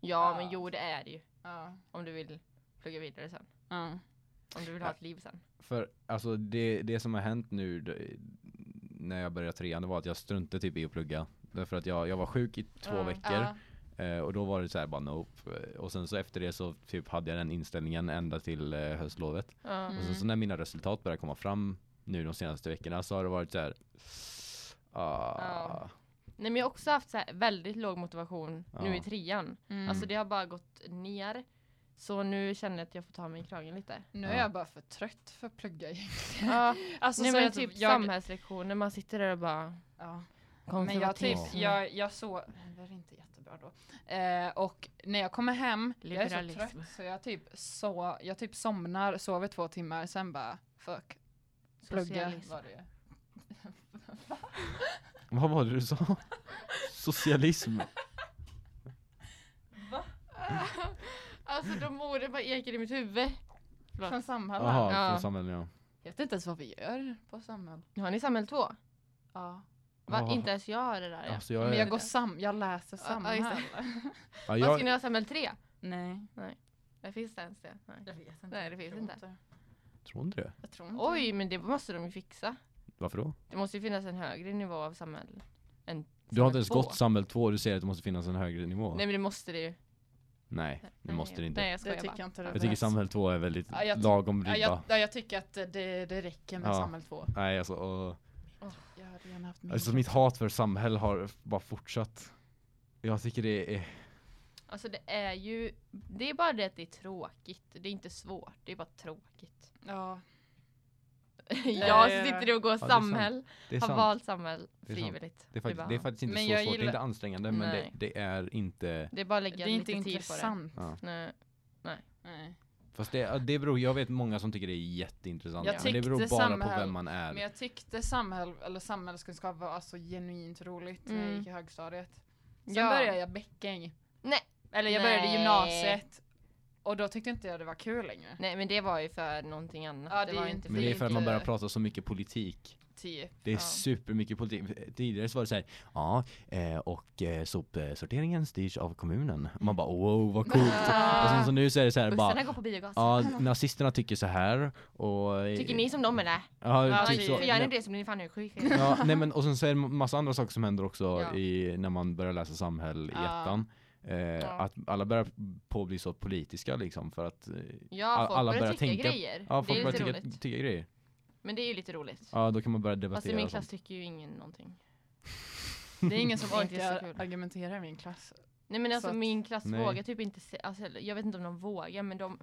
Speaker 3: Ja, men jo det är det ju.
Speaker 1: Ja.
Speaker 3: Om du vill plugga vidare sen.
Speaker 1: Ja.
Speaker 3: Om du vill ha ett liv sen.
Speaker 2: För alltså det, det som har hänt nu det, när jag började trean det var att jag struntade typ i att plugga. Därför att jag, jag var sjuk i två
Speaker 3: Ja.
Speaker 2: veckor eh, och då var det så här bara nope. Eh, Och sen så efter det så typ hade jag den inställningen ända till eh, höstlovet.
Speaker 3: Ja.
Speaker 2: Och sen så när mina resultat började komma fram nu de senaste veckorna så har det varit så här. Ah,
Speaker 3: Nej men jag har också haft så här väldigt låg motivation
Speaker 2: Ja.
Speaker 3: nu i trean.
Speaker 1: Mm.
Speaker 3: Alltså det har bara gått ner. Så nu känner jag att jag får ta mig i kragen lite.
Speaker 1: Nu
Speaker 2: Ja.
Speaker 1: är jag bara för trött för att plugga egentligen.
Speaker 3: Ja,
Speaker 1: Alltså,
Speaker 3: nej
Speaker 1: så
Speaker 3: men
Speaker 1: att
Speaker 3: typ
Speaker 1: jag-
Speaker 3: samhällslektioner, man sitter där och bara
Speaker 1: Ja. Men jag,
Speaker 3: konservatism.
Speaker 1: typ, jag, jag såg, det var inte jättebra då. Eh, och när jag kommer hem, jag är så
Speaker 3: Liberalism.
Speaker 1: trött så jag typ, så, jag typ somnar, sover två timmar, sen bara fuck, plugga.
Speaker 3: Socialism.
Speaker 1: Var det.
Speaker 2: Vad var det du sa? Socialism.
Speaker 3: alltså de orden bara ekar i mitt huvud. Förlåt.
Speaker 1: Från Samhall.
Speaker 2: Jaha,
Speaker 3: Ja.
Speaker 2: från samhället ja. Ah,
Speaker 1: Jag vet inte ens vad vi gör på Samhall.
Speaker 3: Har ni samhäll två?
Speaker 1: Ja.
Speaker 3: Va?
Speaker 2: Jaha.
Speaker 3: Inte ens jag har det där. Ja.
Speaker 2: Alltså jag,
Speaker 1: Men
Speaker 2: är-
Speaker 1: jag går sam, jag läser
Speaker 3: Ja, ja,
Speaker 1: Samhall.
Speaker 3: just det.
Speaker 2: ja,
Speaker 3: Vad ska ni
Speaker 2: jag,
Speaker 3: ha samhäll tre?
Speaker 1: Nej.
Speaker 3: Nej, finns det ens det? Nej.
Speaker 1: Jag vet inte.
Speaker 3: Nej, det finns
Speaker 1: tror
Speaker 3: inte.
Speaker 2: tror inte det.
Speaker 1: Jag tror inte.
Speaker 3: Oj, men det måste de ju fixa.
Speaker 2: Varför då?
Speaker 3: Det måste ju finnas en högre nivå av samhäll. Än
Speaker 2: Du har inte ens
Speaker 3: samhäll
Speaker 2: gått
Speaker 3: två.
Speaker 2: samhäll 2 du säger att det måste finnas en högre nivå.
Speaker 3: Nej men det måste det ju.
Speaker 2: Nej, det måste det inte.
Speaker 3: Nej
Speaker 1: Det
Speaker 3: jag skojar
Speaker 1: tycker
Speaker 3: bara.
Speaker 1: jag inte
Speaker 2: Jag tycker
Speaker 1: behövs.
Speaker 2: samhäll 2 är väldigt
Speaker 1: Ja, jag-
Speaker 2: lagom
Speaker 1: Ja,
Speaker 2: ribba.
Speaker 1: jag, ja, jag tycker att det, det räcker med
Speaker 2: Ja.
Speaker 1: Samhäll 2.
Speaker 2: Nej alltså, och,
Speaker 1: Jag hade gärna haft
Speaker 2: alltså
Speaker 1: mindre.
Speaker 2: mitt hat för samhälle har bara fortsatt. Jag tycker det är,
Speaker 3: Alltså det är ju, det är bara det att det är tråkigt. Det är inte svårt, det är bara tråkigt.
Speaker 1: Ja,
Speaker 3: jag
Speaker 1: det är-
Speaker 3: som sitter och går
Speaker 2: det är
Speaker 3: samhäll,
Speaker 2: det är
Speaker 3: har
Speaker 2: sant.
Speaker 3: valt samhäll
Speaker 2: är sant.
Speaker 3: frivilligt.
Speaker 2: Det är faktiskt,
Speaker 3: bara,
Speaker 2: det är faktiskt inte
Speaker 1: Men
Speaker 2: så
Speaker 1: jag
Speaker 2: svårt, det är
Speaker 1: gillar-
Speaker 2: inte ansträngande men det,
Speaker 3: Nej.
Speaker 2: det är inte,
Speaker 3: det är bara att
Speaker 1: det
Speaker 3: lägga
Speaker 1: är inte
Speaker 3: lite tid på det.
Speaker 1: intressant.
Speaker 2: ja.
Speaker 3: Nej.
Speaker 1: Nej.
Speaker 2: Fast det, ja, det beror, jag vet många som tycker det är jätteintressant
Speaker 1: Jag
Speaker 2: men det
Speaker 1: tyckte
Speaker 2: beror bara på
Speaker 1: samhäll-
Speaker 2: vem man är.
Speaker 1: Men jag tyckte samhäll, eller samhällskunskap var alltså genuint roligt när jag
Speaker 3: Mm.
Speaker 1: gick i högstadiet. Sen
Speaker 3: Ja.
Speaker 1: började jag bäcking.
Speaker 3: Nej.
Speaker 1: Eller jag började i
Speaker 3: Nej.
Speaker 1: gymnasiet. Och då tyckte inte jag det var kul längre.
Speaker 3: Nej men det var ju för någonting annat.
Speaker 1: Ja, det
Speaker 3: det,
Speaker 1: är
Speaker 3: var
Speaker 1: ju
Speaker 3: inte
Speaker 2: Men det är för att man
Speaker 1: lite-
Speaker 2: börjar prata så mycket politik.
Speaker 1: Typ.
Speaker 2: Det är
Speaker 3: Ja.
Speaker 2: supermycket politik. Tidigare så var det så här, ja, eh, och eh, sopsorteringen styrs av kommunen. Man bara wow vad coolt. Och
Speaker 1: Ah.
Speaker 2: sen så nu så är det så här
Speaker 3: Bussarna
Speaker 2: bara,
Speaker 3: går på biogas.
Speaker 2: ja nazisterna tycker så här och... eh,
Speaker 3: Tycker ni som dem eller?
Speaker 2: Ja,
Speaker 1: Ja,
Speaker 2: typ
Speaker 1: det-
Speaker 2: så.
Speaker 3: För gör ni
Speaker 2: Nej,
Speaker 3: det så blir ni fan sjuka.
Speaker 2: Ja, nej men och sen så är det massa andra saker som händer också
Speaker 1: Ja.
Speaker 2: i, när man börjar läsa samhäll i
Speaker 1: Ja.
Speaker 2: ettan. Eh, Att alla börjar på att bli så politiska liksom för att eh,
Speaker 3: Ja, folk
Speaker 2: alla
Speaker 3: börjar
Speaker 2: börjar
Speaker 3: tycka
Speaker 2: tänka-
Speaker 3: grejer.
Speaker 2: ja,
Speaker 3: det
Speaker 2: folk
Speaker 3: är
Speaker 2: börjar
Speaker 3: lite
Speaker 2: tycka,
Speaker 3: roligt.
Speaker 2: tycka grejer.
Speaker 3: Men det är ju lite roligt.
Speaker 2: Ja, då kan man börja
Speaker 3: Fast i
Speaker 2: debattera
Speaker 3: min
Speaker 2: och
Speaker 3: klass
Speaker 2: sånt.
Speaker 3: tycker ju ingen någonting.
Speaker 1: Det är ingen
Speaker 3: Det
Speaker 1: som
Speaker 3: är inte så
Speaker 1: orkar
Speaker 3: kul.
Speaker 1: argumentera i min klass.
Speaker 3: Nej men
Speaker 1: Så
Speaker 3: alltså
Speaker 1: att-
Speaker 3: min klass
Speaker 2: Nej.
Speaker 3: vågar typ inte, se, alltså, eller, jag vet inte om de vågar men de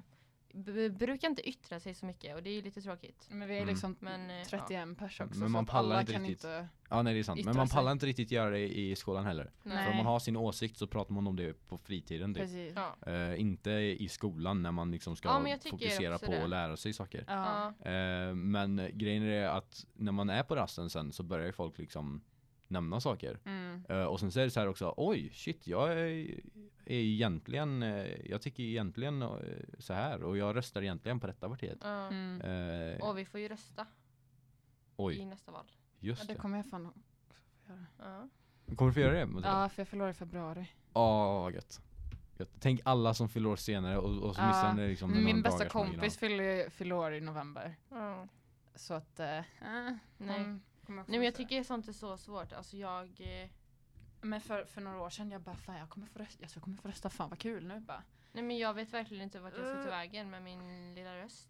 Speaker 3: b- brukar inte yttra sig så mycket och det är ju lite tråkigt.
Speaker 1: Men vi är
Speaker 2: Mm.
Speaker 1: liksom
Speaker 3: Men, eh,
Speaker 1: 31 pers också.
Speaker 2: Men
Speaker 1: så
Speaker 2: man
Speaker 1: att
Speaker 2: pallar
Speaker 1: alla
Speaker 2: inte
Speaker 1: kan
Speaker 2: riktigt.
Speaker 1: inte...
Speaker 2: Ja nej det är sant, men
Speaker 1: yttra
Speaker 2: man
Speaker 1: sig.
Speaker 2: pallar inte riktigt göra det i skolan heller. För om
Speaker 1: Nej.
Speaker 2: man har sin åsikt så pratar man om det på fritiden typ.
Speaker 1: Precis.
Speaker 3: Ja.
Speaker 2: Eh, inte i skolan när man liksom ska
Speaker 3: Ja, men jag tycker
Speaker 2: fokusera
Speaker 3: också
Speaker 2: på
Speaker 3: det.
Speaker 2: att lära sig saker.
Speaker 1: Ja.
Speaker 3: Ja.
Speaker 2: Eh, men grejen är att när man är på rasten sen så börjar ju folk liksom nämna saker.
Speaker 1: Mm.
Speaker 2: Eh, och sen så är det så här också, oj shit jag är, är egentligen, eh, jag tycker egentligen eh, så här och jag röstar egentligen på detta partiet.
Speaker 3: Ja.
Speaker 1: Mm.
Speaker 2: Eh,
Speaker 3: Och vi får ju rösta i
Speaker 2: oj,
Speaker 3: nästa val.
Speaker 1: Ja,
Speaker 2: just
Speaker 1: det
Speaker 2: det.
Speaker 1: kommer jag fan
Speaker 3: Ja.
Speaker 2: Kommer du få göra det? Matilda?
Speaker 1: Ja, för jag förlorar i februari.
Speaker 2: Ja, vad gött. gött. Tänk alla som fyller år senare och, och så
Speaker 1: Ja,
Speaker 2: missar ni liksom
Speaker 1: Mm, Min
Speaker 2: några
Speaker 1: bästa
Speaker 2: dagar som ligger
Speaker 1: kompis fyller fyller år i november.
Speaker 3: Ja.
Speaker 1: Så att... Eh, Mm. Nej.
Speaker 3: Nej. Nej men jag tycker sånt är så svårt. Alltså jag, eh,
Speaker 1: Men för, för några år sedan jag bara fan jag kommer få rösta, jag kommer få rösta, fan vad kul nu bara.
Speaker 3: nej men jag vet verkligen inte vart jag ska ta
Speaker 1: Eh.
Speaker 3: vägen med min lilla röst.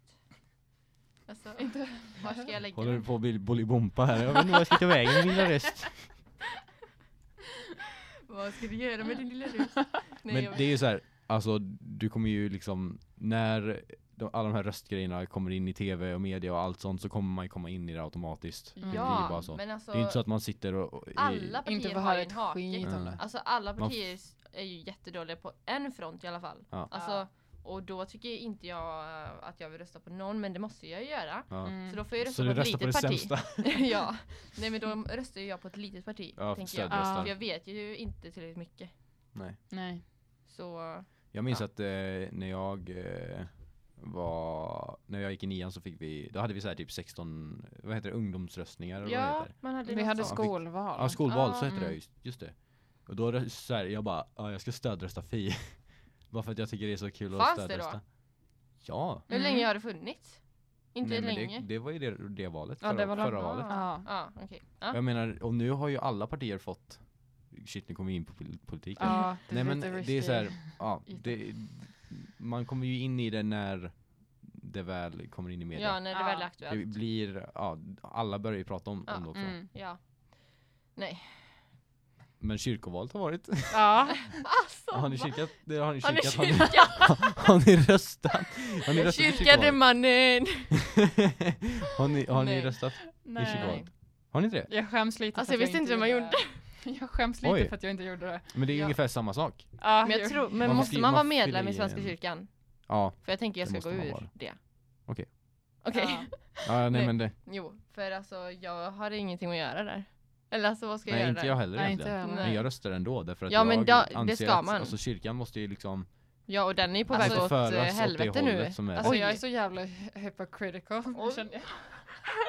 Speaker 3: Alltså,
Speaker 1: Inte.
Speaker 3: var ska jag
Speaker 2: idag.
Speaker 3: lägga
Speaker 2: Håller du
Speaker 3: den?
Speaker 2: på att bli bolibompa här? Jag vet inte vad jag ska ta vägen med min lilla röst.
Speaker 3: Vad ska du göra med din lilla röst? Nej,
Speaker 2: Men
Speaker 3: jag vet-
Speaker 2: det är ju så här, alltså du kommer ju liksom, när de, alla de här röstgrejerna kommer in i tv och media och allt sånt så kommer man ju komma in i det automatiskt.
Speaker 3: Mm.
Speaker 1: Ja,
Speaker 2: det är ju bara
Speaker 3: ja,
Speaker 2: så.
Speaker 3: men alltså
Speaker 2: Det är ju inte så att man sitter och... och i,
Speaker 3: alla
Speaker 1: Inte
Speaker 3: partier
Speaker 1: få
Speaker 3: har
Speaker 1: höra
Speaker 3: ju en
Speaker 1: ett
Speaker 3: hake.
Speaker 1: skit om
Speaker 2: Mm.
Speaker 1: det.
Speaker 3: Alltså alla
Speaker 2: Man f-
Speaker 3: partier s- är ju jättedåliga på en front i alla fall.
Speaker 2: Ja.
Speaker 3: Alltså,
Speaker 1: Ja.
Speaker 3: Och då tycker inte jag eh, att jag vill rösta på någon, men det måste jag ju göra.
Speaker 2: ja.
Speaker 1: Mm.
Speaker 3: Så då får jag
Speaker 2: Så du
Speaker 3: rösta på ett
Speaker 2: röstar
Speaker 3: litet
Speaker 2: på det
Speaker 3: parti.
Speaker 2: sämsta?
Speaker 3: ja. Nej men då röstar ju jag på ett litet parti.
Speaker 2: Ja,
Speaker 3: tänker jag.
Speaker 2: stödröstar.
Speaker 3: För jag vet ju inte tillräckligt mycket.
Speaker 1: Nej.
Speaker 3: Så
Speaker 2: Jag minns
Speaker 3: Ja.
Speaker 2: att eh, när jag eh, var, när jag gick i nian så fick vi, då hade vi så här typ 16, vad heter det, ungdomsröstningar eller vad det
Speaker 3: ja,
Speaker 2: heter.
Speaker 3: man hade
Speaker 1: Vi hade
Speaker 2: sånt.
Speaker 1: skolval.
Speaker 2: Ja, skolval, så
Speaker 3: Ja,
Speaker 2: heter det,
Speaker 1: mm.
Speaker 2: just, just det. Och då rö- så här, jag bara, ja, jag ska stödrösta Fi. bara för att jag tycker det är så kul
Speaker 3: Fanns
Speaker 2: att
Speaker 3: det
Speaker 2: stödrösta.
Speaker 3: då?
Speaker 2: Ja.
Speaker 3: Hur länge har det funnits? Inte
Speaker 2: Nej, men
Speaker 3: länge?
Speaker 2: Det, det var ju det, det valet,
Speaker 1: Ja,
Speaker 2: förra,
Speaker 1: det var
Speaker 2: förra
Speaker 1: långt.
Speaker 2: valet.
Speaker 1: Ja.
Speaker 3: Ja, okej. Ja.
Speaker 2: Jag menar, och nu har ju alla partier fått, shit nu kommer vi in på pol- politiken.
Speaker 1: ja blir
Speaker 2: Nej men
Speaker 1: lite
Speaker 2: det är
Speaker 1: risky.
Speaker 2: så här, ja,
Speaker 1: Yta.
Speaker 2: det, man kommer ju in i det när det väl kommer in i media.
Speaker 3: ja, när det
Speaker 1: Ja.
Speaker 3: väl är
Speaker 2: Det
Speaker 3: aktuellt.
Speaker 2: blir, ja, alla börjar ju prata om,
Speaker 3: Ja,
Speaker 2: om det också.
Speaker 1: Mm.
Speaker 3: Ja.
Speaker 2: Men kyrkovalet har varit.
Speaker 1: Ja,
Speaker 3: Alltså,
Speaker 2: Har ni
Speaker 3: va?
Speaker 2: kikat? Det Har ni
Speaker 3: Har ni
Speaker 2: kikat? Har ni,
Speaker 3: kyrkat?
Speaker 2: har ni röstat? Har ni röstat i
Speaker 3: Kyrkade
Speaker 2: kyrkovalet? Alltså,
Speaker 3: mannen!
Speaker 2: har ni, har ni
Speaker 3: Nej.
Speaker 2: röstat i
Speaker 1: nej.
Speaker 2: kyrkovalet? Har ni inte det?
Speaker 1: Jag skäms lite
Speaker 3: Alltså,
Speaker 1: för
Speaker 3: jag
Speaker 1: att
Speaker 3: visste inte hur man
Speaker 1: gjorde det. Jag skäms lite
Speaker 2: Oj.
Speaker 1: för att jag inte gjorde det.
Speaker 2: Men det är ju
Speaker 3: Ja.
Speaker 2: ungefär samma sak.
Speaker 1: Ja,
Speaker 3: Men,
Speaker 1: jo.
Speaker 3: jag tror, men
Speaker 2: Man
Speaker 3: måste
Speaker 2: skriver-
Speaker 3: man vara
Speaker 2: man
Speaker 3: medlem
Speaker 2: fyller
Speaker 3: i
Speaker 2: i
Speaker 3: Svenska
Speaker 2: en-
Speaker 3: kyrkan?
Speaker 2: Ja,
Speaker 3: För jag tänker jag
Speaker 2: Det
Speaker 3: ska
Speaker 2: måste
Speaker 3: gå
Speaker 2: man
Speaker 3: ur
Speaker 2: vara.
Speaker 3: det.
Speaker 2: Okej.
Speaker 3: Okej.
Speaker 1: Ja.
Speaker 2: ja nej
Speaker 3: Nej.
Speaker 2: men det.
Speaker 3: Jo, för alltså jag har ingenting att göra där. Eller alltså vad ska jag
Speaker 2: Nej
Speaker 3: göra
Speaker 2: inte
Speaker 3: där?
Speaker 2: jag heller
Speaker 1: Nej, inte
Speaker 2: egentligen.
Speaker 1: jag heller.
Speaker 3: Nej.
Speaker 2: Men jag röstar ändå därför att
Speaker 3: Ja,
Speaker 2: jag
Speaker 3: men da- det
Speaker 2: anser
Speaker 3: ska
Speaker 2: att
Speaker 3: man.
Speaker 2: Alltså, kyrkan måste ju liksom
Speaker 3: Ja och den är på
Speaker 1: Alltså,
Speaker 3: väg åt eh,
Speaker 2: föras åt det
Speaker 3: helvete nu.
Speaker 2: hållet som är-
Speaker 1: Alltså
Speaker 3: Oj.
Speaker 1: jag är så jävla hypocritical.
Speaker 3: Oj.
Speaker 1: känner jag.
Speaker 3: Alltså,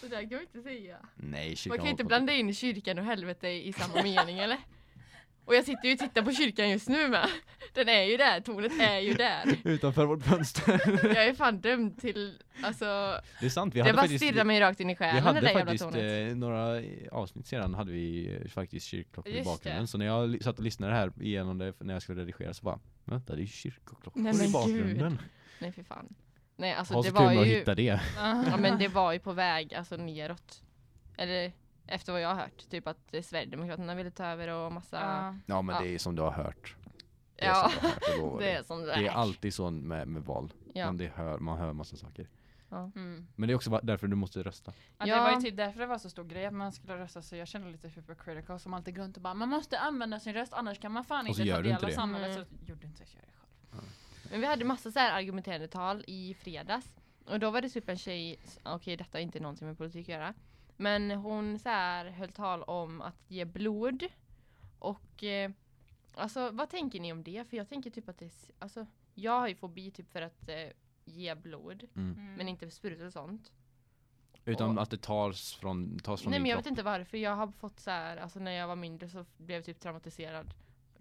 Speaker 3: Så där kan man inte säga.
Speaker 2: Nej kyrkan
Speaker 3: Man kan ju inte
Speaker 2: håller på-
Speaker 3: blanda in kyrkan och helvete i samma mening eller? Och jag sitter ju och tittar på kyrkan just nu med. Den är ju där, tornet är ju där.
Speaker 2: Utanför vårt fönster.
Speaker 3: Jag är fan dömd till, alltså.
Speaker 2: det är sant. Vi
Speaker 3: Det
Speaker 2: hade
Speaker 3: bara
Speaker 2: faktiskt,
Speaker 3: stirrar mig rakt in i
Speaker 2: vi
Speaker 3: själen det
Speaker 2: hade
Speaker 3: där jävla
Speaker 2: faktiskt
Speaker 3: tornet.
Speaker 2: eh, några eh, avsnitt sedan hade vi eh, faktiskt kyrkklockor i
Speaker 3: Just
Speaker 2: bakgrunden.
Speaker 3: det.
Speaker 2: Så när jag li- satt och lyssnade här igenom det när jag skulle redigera så bara Vänta det är ju kyrkklockor
Speaker 3: Nej, men
Speaker 2: i
Speaker 3: gud.
Speaker 2: bakgrunden.
Speaker 3: Nej för fan. Nej alltså
Speaker 2: ha
Speaker 3: det
Speaker 2: så kul
Speaker 3: var
Speaker 2: med att
Speaker 3: ju.
Speaker 2: hitta det.
Speaker 3: Ja men det var ju på väg alltså neråt. Eller efter vad jag har hört, typ att eh, Sverigedemokraterna ville ta över och massa.
Speaker 1: Ja.
Speaker 2: Ja men
Speaker 3: Ja.
Speaker 2: det är som du har hört. Det är
Speaker 3: ja,
Speaker 2: som du har hört, jag lovar
Speaker 3: det är som det
Speaker 2: Det är alltid så med, med val.
Speaker 3: Ja.
Speaker 2: Man, det hör, man hör massa saker.
Speaker 1: Mm.
Speaker 2: Men det är också va- därför du måste rösta.
Speaker 1: Ja. Det
Speaker 3: Ja.
Speaker 1: var ju typ därför det var så stor grej att man skulle rösta så jag kände lite hypocritical som alltid går runt och bara man måste använda sin röst annars kan man fan
Speaker 2: Och så
Speaker 1: inte
Speaker 2: gör
Speaker 1: ta
Speaker 2: du
Speaker 1: del
Speaker 2: inte
Speaker 1: av
Speaker 2: det.
Speaker 1: samhället.
Speaker 3: Mm.
Speaker 1: Så gjorde inte jag det själv.
Speaker 3: Men vi hade massa så här argumenterande tal i fredags. Och då var det typ en tjej, okej detta har inte någonting med politik att göra. Men hon så här höll tal om att ge blod. Och eh, alltså vad tänker ni om det? För jag tänker typ att det, är s- alltså jag har ju fobi typ för att eh, ge blod.
Speaker 1: Mm.
Speaker 3: Men inte för sprutor och sånt.
Speaker 2: Utan
Speaker 3: Och-
Speaker 2: att det tas från, tas från
Speaker 3: Nej
Speaker 2: din
Speaker 3: men jag
Speaker 2: kropp.
Speaker 3: vet inte varför. Jag har fått så här, alltså när jag var mindre så blev jag typ traumatiserad.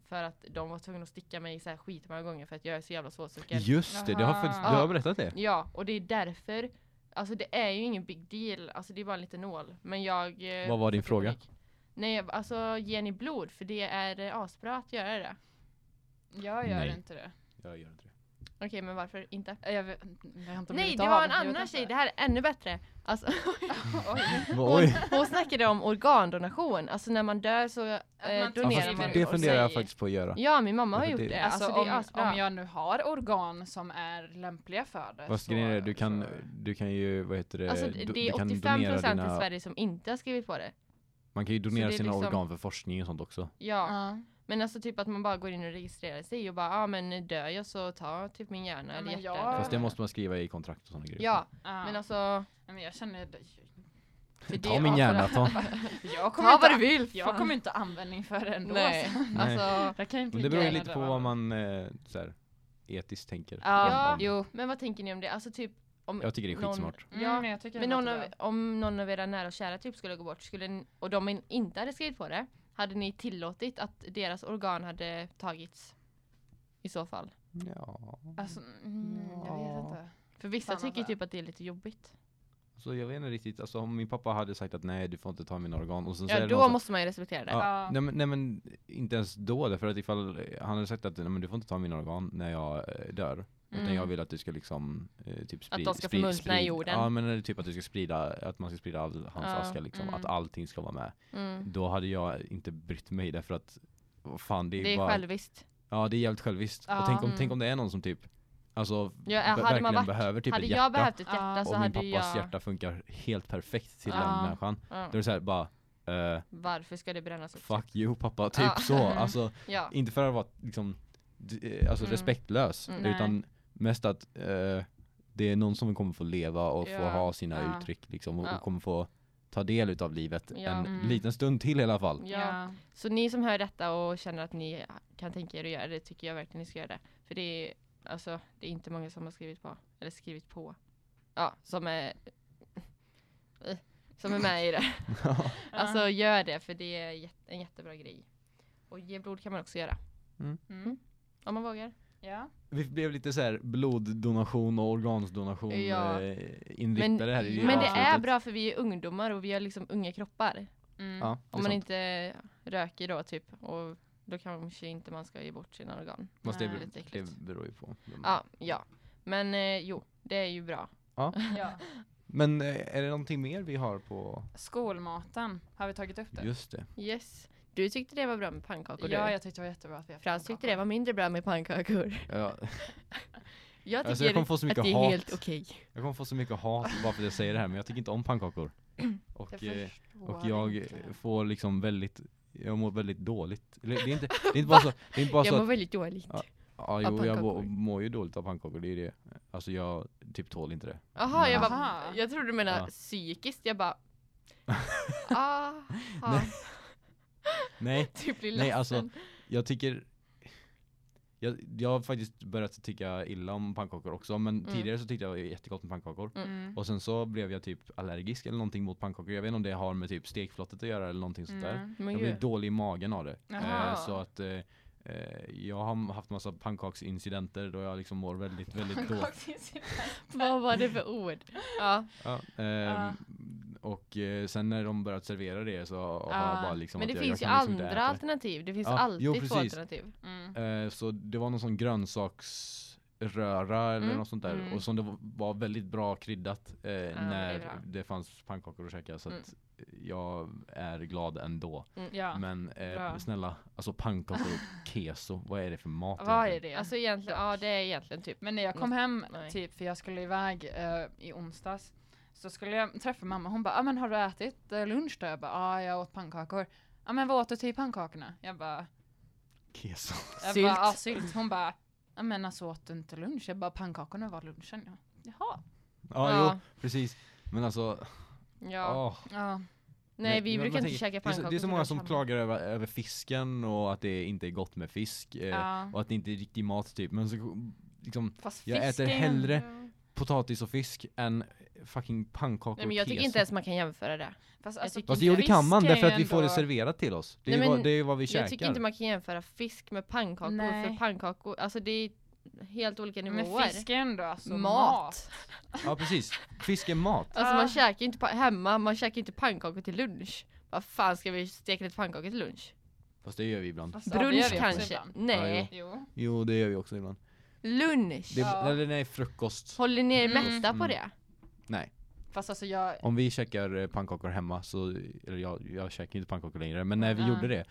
Speaker 3: För att de var tvungna att sticka mig så här skitmånga gånger för att jag är så jävla svårstucken.
Speaker 2: Just det, det har faktiskt, du
Speaker 3: Aha.
Speaker 2: har berättat det.
Speaker 3: Ja, och det är därför. Alltså det är ju ingen big deal, alltså det är bara en liten nål. Men jag... eh,
Speaker 2: Vad var din
Speaker 3: får
Speaker 2: fråga?
Speaker 3: panik. Nej, jag- alltså ge ni blod för det är eh, asbra att göra det.
Speaker 1: Jag gör
Speaker 2: Nej.
Speaker 1: inte det.
Speaker 2: Jag gör inte det.
Speaker 3: Okej, men varför inte?
Speaker 1: Eh, Jag vet, jag har Äh, inte
Speaker 3: Nej,
Speaker 1: blivit
Speaker 3: det
Speaker 1: av.
Speaker 3: var en
Speaker 1: Jag vet
Speaker 3: annan
Speaker 1: inte.
Speaker 3: tjej. Det här är ännu bättre. Alltså,
Speaker 1: Oj.
Speaker 3: hon,
Speaker 2: Oj!
Speaker 3: hon snackade om organdonation. Alltså när man dör så eh,
Speaker 1: man tar
Speaker 3: donerar
Speaker 1: sitt
Speaker 3: man.
Speaker 1: eget
Speaker 2: Alltså, Det
Speaker 1: och
Speaker 2: funderar jag
Speaker 1: säg-
Speaker 2: faktiskt på att göra.
Speaker 3: Ja, min mamma har
Speaker 2: Därför
Speaker 3: gjort
Speaker 2: att
Speaker 3: det.
Speaker 2: det-
Speaker 3: Alltså,
Speaker 1: Alltså,
Speaker 3: det är asbra.
Speaker 1: om, om jag nu har organ som är lämpliga för det.
Speaker 2: Fast
Speaker 1: så-
Speaker 2: grejen är, du kan,
Speaker 1: så-
Speaker 2: du kan ju, vad heter det,
Speaker 3: Alltså,
Speaker 2: Eh, do-
Speaker 3: det är
Speaker 2: du kan
Speaker 3: 85
Speaker 2: donera
Speaker 3: procent i
Speaker 2: dina,
Speaker 3: Sverige som inte har skrivit på det.
Speaker 2: man kan ju
Speaker 3: det
Speaker 2: donera
Speaker 3: är
Speaker 2: sina
Speaker 3: liksom-
Speaker 2: organ för forskning och sånt också.
Speaker 3: Ja,
Speaker 1: Ja.
Speaker 3: men alltså typ att man bara går in och registrerar sig och bara, ja ah, men dör jag så ta typ min hjärna
Speaker 1: Ja,
Speaker 3: eller
Speaker 1: men
Speaker 3: hjärta.
Speaker 1: jag-
Speaker 3: eller
Speaker 2: Fast det
Speaker 3: vad.
Speaker 2: måste man skriva i kontrakt och sådana grejer.
Speaker 3: Ja,
Speaker 1: Ja.
Speaker 3: men alltså.
Speaker 1: Nej, men jag känner... det-
Speaker 3: För det, alltså-
Speaker 2: Ta min hjärna, ta.
Speaker 1: Jag kommer,
Speaker 3: Ta
Speaker 1: inte,
Speaker 3: vad du vill.
Speaker 1: jag kommer inte användning för det ändå.
Speaker 3: Nej,
Speaker 1: så.
Speaker 3: alltså.
Speaker 1: Jag kan inte
Speaker 2: Men det beror ju
Speaker 1: göra
Speaker 2: lite på
Speaker 1: va?
Speaker 2: vad man eh, så här, etiskt tänker.
Speaker 1: Ja,
Speaker 3: Ja,
Speaker 2: Om-
Speaker 3: jo. Men vad tänker ni om det? Alltså typ om,
Speaker 2: Jag tycker det är
Speaker 3: någon-
Speaker 2: skitsmart.
Speaker 1: Mm,
Speaker 3: Ja,
Speaker 1: men jag tycker
Speaker 3: men
Speaker 1: det
Speaker 3: någon
Speaker 1: låter
Speaker 3: av, om någon av era nära och kära typ skulle gå bort skulle, ni- och de in- inte hade skrivit på det, hade ni tillåtit att deras organ hade tagits? I så fall.
Speaker 2: Ja.
Speaker 1: bra. Alltså, mm, jag vet inte.
Speaker 3: För vissa
Speaker 1: Fan, alltså. vad
Speaker 3: tycker
Speaker 1: bra.
Speaker 3: typ att det är lite jobbigt.
Speaker 2: Så jag vet inte riktigt, alltså om min pappa hade sagt att nej du får inte ta mina organ och sen så är
Speaker 3: Ja,
Speaker 2: det
Speaker 3: då
Speaker 2: någon som-
Speaker 3: måste man ju respektera det.
Speaker 2: Ja,
Speaker 1: Ja.
Speaker 2: Nej, men, nej men inte ens då därför att ifall eh, han hade sagt att nej, men du får inte ta mina organ när jag eh, dör. Utan
Speaker 3: Mm.
Speaker 2: jag vill att du ska liksom eh, typ
Speaker 3: Att
Speaker 2: sprida.
Speaker 3: de ska förmultna i jorden.
Speaker 2: Ja men eller typ att du ska sprida, att man ska sprida all hans
Speaker 3: Ja,
Speaker 2: aska liksom.
Speaker 1: mm.
Speaker 2: Att allting ska vara med.
Speaker 3: Mm.
Speaker 2: Då hade jag inte brytt mig därför att vad fan det är,
Speaker 3: Det är
Speaker 2: bara, typ
Speaker 3: själviskt.
Speaker 2: Ja det är jävligt själviskt.
Speaker 1: Ja.
Speaker 2: och tänk om,
Speaker 3: Mm.
Speaker 2: tänk om det är någon som typ Alltså
Speaker 3: Ja,
Speaker 2: be-
Speaker 3: hade man
Speaker 2: verkligen
Speaker 3: varit-
Speaker 2: behöver typ
Speaker 3: hade
Speaker 2: ett
Speaker 3: jag
Speaker 2: hjärta.
Speaker 3: behövt ett hjärta
Speaker 1: Ja.
Speaker 3: så
Speaker 2: och min
Speaker 3: hade
Speaker 2: pappas
Speaker 3: jag...
Speaker 2: hjärta funkar helt perfekt till
Speaker 1: Ja.
Speaker 2: den människan.
Speaker 3: Ja.
Speaker 2: Då är det såhär bara eh,
Speaker 3: Varför ska det brännas upp?
Speaker 2: Fuck you pappa, typ
Speaker 3: Ja.
Speaker 2: så. Alltså
Speaker 3: Ja.
Speaker 2: inte för att vara liksom, d- eh, alltså
Speaker 3: Mm.
Speaker 2: respektlös
Speaker 3: Mm.
Speaker 1: Nej.
Speaker 2: utan mest att eh, det är någon som kommer få leva och få
Speaker 3: Ja.
Speaker 2: ha sina
Speaker 1: Ja.
Speaker 2: uttryck liksom, och,
Speaker 3: Ja.
Speaker 2: och kommer få ta del utav livet
Speaker 3: Ja.
Speaker 2: en
Speaker 1: Mm.
Speaker 2: liten stund till i alla fall.
Speaker 3: Ja. Så ni som hör detta och känner att ni kan tänka er att göra det tycker jag verkligen ni ska göra det. För det är, alltså, det är inte många som har skrivit på. Eller skrivit på. Ja, som är... eh, Som är med i det. Alltså gör det för det är jätte- en jättebra grej. Och ge blod kan man också göra.
Speaker 1: Mm.
Speaker 3: Om man vågar.
Speaker 1: Ja.
Speaker 2: Vi blev lite så här bloddonation och organsdonation
Speaker 3: Ja.
Speaker 2: eh,
Speaker 3: Men,
Speaker 2: inriktade här i
Speaker 3: men det
Speaker 2: avsnittet.
Speaker 3: är bra för vi är ungdomar och vi har liksom unga kroppar.
Speaker 1: Mm.
Speaker 2: Ja, det
Speaker 3: Om
Speaker 2: är
Speaker 3: man
Speaker 2: sant.
Speaker 3: inte röker då typ och då kanske inte man ska ge bort sina organ.
Speaker 2: Fast det,
Speaker 1: Nej,
Speaker 2: beror-
Speaker 3: lite äckligt.
Speaker 2: det beror ju på. vem man
Speaker 3: Ja, ja. Men eh, jo, det är ju bra.
Speaker 1: Ja.
Speaker 2: Men eh, är det någonting mer vi har på?
Speaker 1: Skolmaten, har vi tagit upp det?
Speaker 2: Just det.
Speaker 3: Yes. Du tyckte det var bra med pannkakor
Speaker 1: Ja,
Speaker 3: du.
Speaker 1: jag tyckte det var jättebra att vi har
Speaker 3: Frans tyckte det var mindre bra med pannkakor.
Speaker 2: Ja,
Speaker 3: Jag tycker
Speaker 2: Alltså, jag kommer få så mycket
Speaker 3: att det är
Speaker 2: hat. Alltså
Speaker 3: helt okej.
Speaker 2: jag kommer få så mycket hat bara för att jag säger det här men jag tycker inte om pannkakor. Och,
Speaker 1: Jag
Speaker 2: eh,
Speaker 1: förstår
Speaker 2: och jag
Speaker 1: inte.
Speaker 2: får liksom väldigt, jag mår väldigt dåligt. Eller, det, är inte, det är inte bara så, det är inte bara
Speaker 3: Jag
Speaker 2: så
Speaker 3: mår
Speaker 2: att,
Speaker 3: väldigt dåligt.
Speaker 2: Ja. ja,
Speaker 3: av
Speaker 2: jo, jag mår,
Speaker 3: pannkakor.
Speaker 2: mår ju dåligt av pannkakor, det är det. Alltså jag typ tål inte det.
Speaker 3: Jaha, jag, bara,
Speaker 1: Aha.
Speaker 3: jag trodde du menade
Speaker 2: Mm. Ja.
Speaker 3: psykiskt. Jag bara... Aha.
Speaker 2: Nej,
Speaker 3: typ blir
Speaker 2: Nej,
Speaker 3: ledsen.
Speaker 2: alltså, Jag tycker jag, jag har faktiskt börjat tycka illa om pannkakor också men
Speaker 3: Mm.
Speaker 2: tidigare så tyckte jag det var jättegott med pannkakor.
Speaker 1: Mm.
Speaker 2: Och sen så blev jag typ allergisk eller någonting mot pannkakor. Jag vet inte om det har med typ stekflottet att göra eller någonting sånt där.
Speaker 1: Mm.
Speaker 3: Men
Speaker 2: Jag
Speaker 3: gud.
Speaker 2: blev dålig i magen av det.
Speaker 1: Jaha.
Speaker 2: Eh, så att eh, eh, jag har haft massa pannkaksincidenter då jag liksom mår väldigt, väldigt dåligt.
Speaker 3: Vad var det för ord? Ja,
Speaker 2: Ja, ehm, och eh, sen när de börjat servera det så har jag
Speaker 1: Ah,
Speaker 2: bara liksom
Speaker 3: men det
Speaker 2: att
Speaker 3: finns ju
Speaker 2: jag, jag kan liksom inte äta
Speaker 3: andra
Speaker 2: det.
Speaker 3: alternativ. Det finns
Speaker 2: Ja,
Speaker 3: alltid
Speaker 2: jo,
Speaker 3: två
Speaker 2: precis.
Speaker 3: alternativ.
Speaker 1: Mm.
Speaker 2: Eh, Så det var någon sån grönsaksröra eller
Speaker 3: Mm,
Speaker 2: något sånt där
Speaker 1: mm.
Speaker 2: och som det var- var väldigt bra kryddat eh,
Speaker 3: det
Speaker 2: när
Speaker 3: är bra. Mm.
Speaker 2: det fanns pannkakor att käka så att jag är glad ändå.
Speaker 1: Ja,
Speaker 2: Men eh,
Speaker 1: bra.
Speaker 2: snälla, alltså pannkakor och keso, vad är det för mat?
Speaker 1: vad är
Speaker 2: egentligen?
Speaker 1: det?
Speaker 3: Alltså egentligen, ja det är egentligen typ.
Speaker 1: Men när jag kom hem,
Speaker 3: Nej.
Speaker 1: typ, för jag skulle iväg eh, i onsdags, så skulle jag träffa mamma. Hon bara, ah, men har du ätit eh, lunch då? Jag bara, ah, jag åt pannkakor. Ja ah, men vad åt du till pankakorna? Jag bara,
Speaker 2: Keso.
Speaker 1: jag
Speaker 3: Sylt.
Speaker 1: bara ah, sylt. Hon bara, ja men alltså åt du inte lunch? Jag bara, pankakorna var lunchen. Ja. Jaha.
Speaker 2: Ja,
Speaker 3: Ja.
Speaker 2: jo, precis. Men alltså,
Speaker 3: Ja.
Speaker 2: åh.
Speaker 1: Ja.
Speaker 3: Nej
Speaker 2: Men-
Speaker 3: vi
Speaker 2: men
Speaker 3: brukar
Speaker 2: man
Speaker 3: inte käka
Speaker 2: det är, så,
Speaker 3: pannkakor.
Speaker 2: det är så
Speaker 3: på
Speaker 2: många
Speaker 3: lunch
Speaker 2: som
Speaker 3: hemma.
Speaker 2: klagar över, över fisken och att det inte är gott med fisk eh,
Speaker 1: ja.
Speaker 2: och att det inte är riktig mat typ. Men så liksom
Speaker 1: Fast
Speaker 2: jag äter
Speaker 1: fisken-
Speaker 2: hellre- potatis och fisk än fucking pannkakor
Speaker 3: Nej men jag
Speaker 2: och
Speaker 3: tycker
Speaker 2: keso.
Speaker 3: inte ens man kan jämföra det.
Speaker 1: Fast, alltså,
Speaker 3: tycker
Speaker 2: Fast jo det kan
Speaker 1: fisk
Speaker 2: man
Speaker 1: är
Speaker 2: därför
Speaker 1: ju
Speaker 2: att vi får det
Speaker 1: ändå-
Speaker 2: serverat till oss. Det är,
Speaker 3: Nej,
Speaker 2: ju vad,
Speaker 3: men
Speaker 2: det är ju vad vi
Speaker 3: Jag
Speaker 2: käkar.
Speaker 3: tycker inte man kan jämföra fisk med pannkakor för
Speaker 1: Nej.
Speaker 3: pannkakor, alltså det är helt olika nivåer.
Speaker 1: Men fisk är ändå alltså
Speaker 3: mat.
Speaker 1: mat.
Speaker 2: Ja precis. Fisk är mat.
Speaker 3: Alltså man
Speaker 1: Ah.
Speaker 3: käkar ju inte pa- hemma, man käkar inte pannkakor till lunch. Vad fan ska vi steka lite pannkakor till lunch?
Speaker 2: Fast det gör vi ibland.
Speaker 1: Fast, Alltså, ja, det gör
Speaker 3: Brunch
Speaker 1: vi också
Speaker 3: kanske?
Speaker 1: ibland.
Speaker 3: Nej.
Speaker 1: Jo.
Speaker 2: Jo det gör vi också ibland.
Speaker 3: Lunch!
Speaker 2: Det,
Speaker 1: Ja.
Speaker 2: Eller nej frukost.
Speaker 3: Håller ni er
Speaker 1: Mm.
Speaker 3: mätta på
Speaker 2: Mm.
Speaker 3: det?
Speaker 2: Nej.
Speaker 1: Fast alltså jag,
Speaker 2: Om vi käkar eh, pannkakor hemma så, eller jag, jag käkar ju inte pannkakor längre men när vi
Speaker 1: Ja.
Speaker 2: gjorde det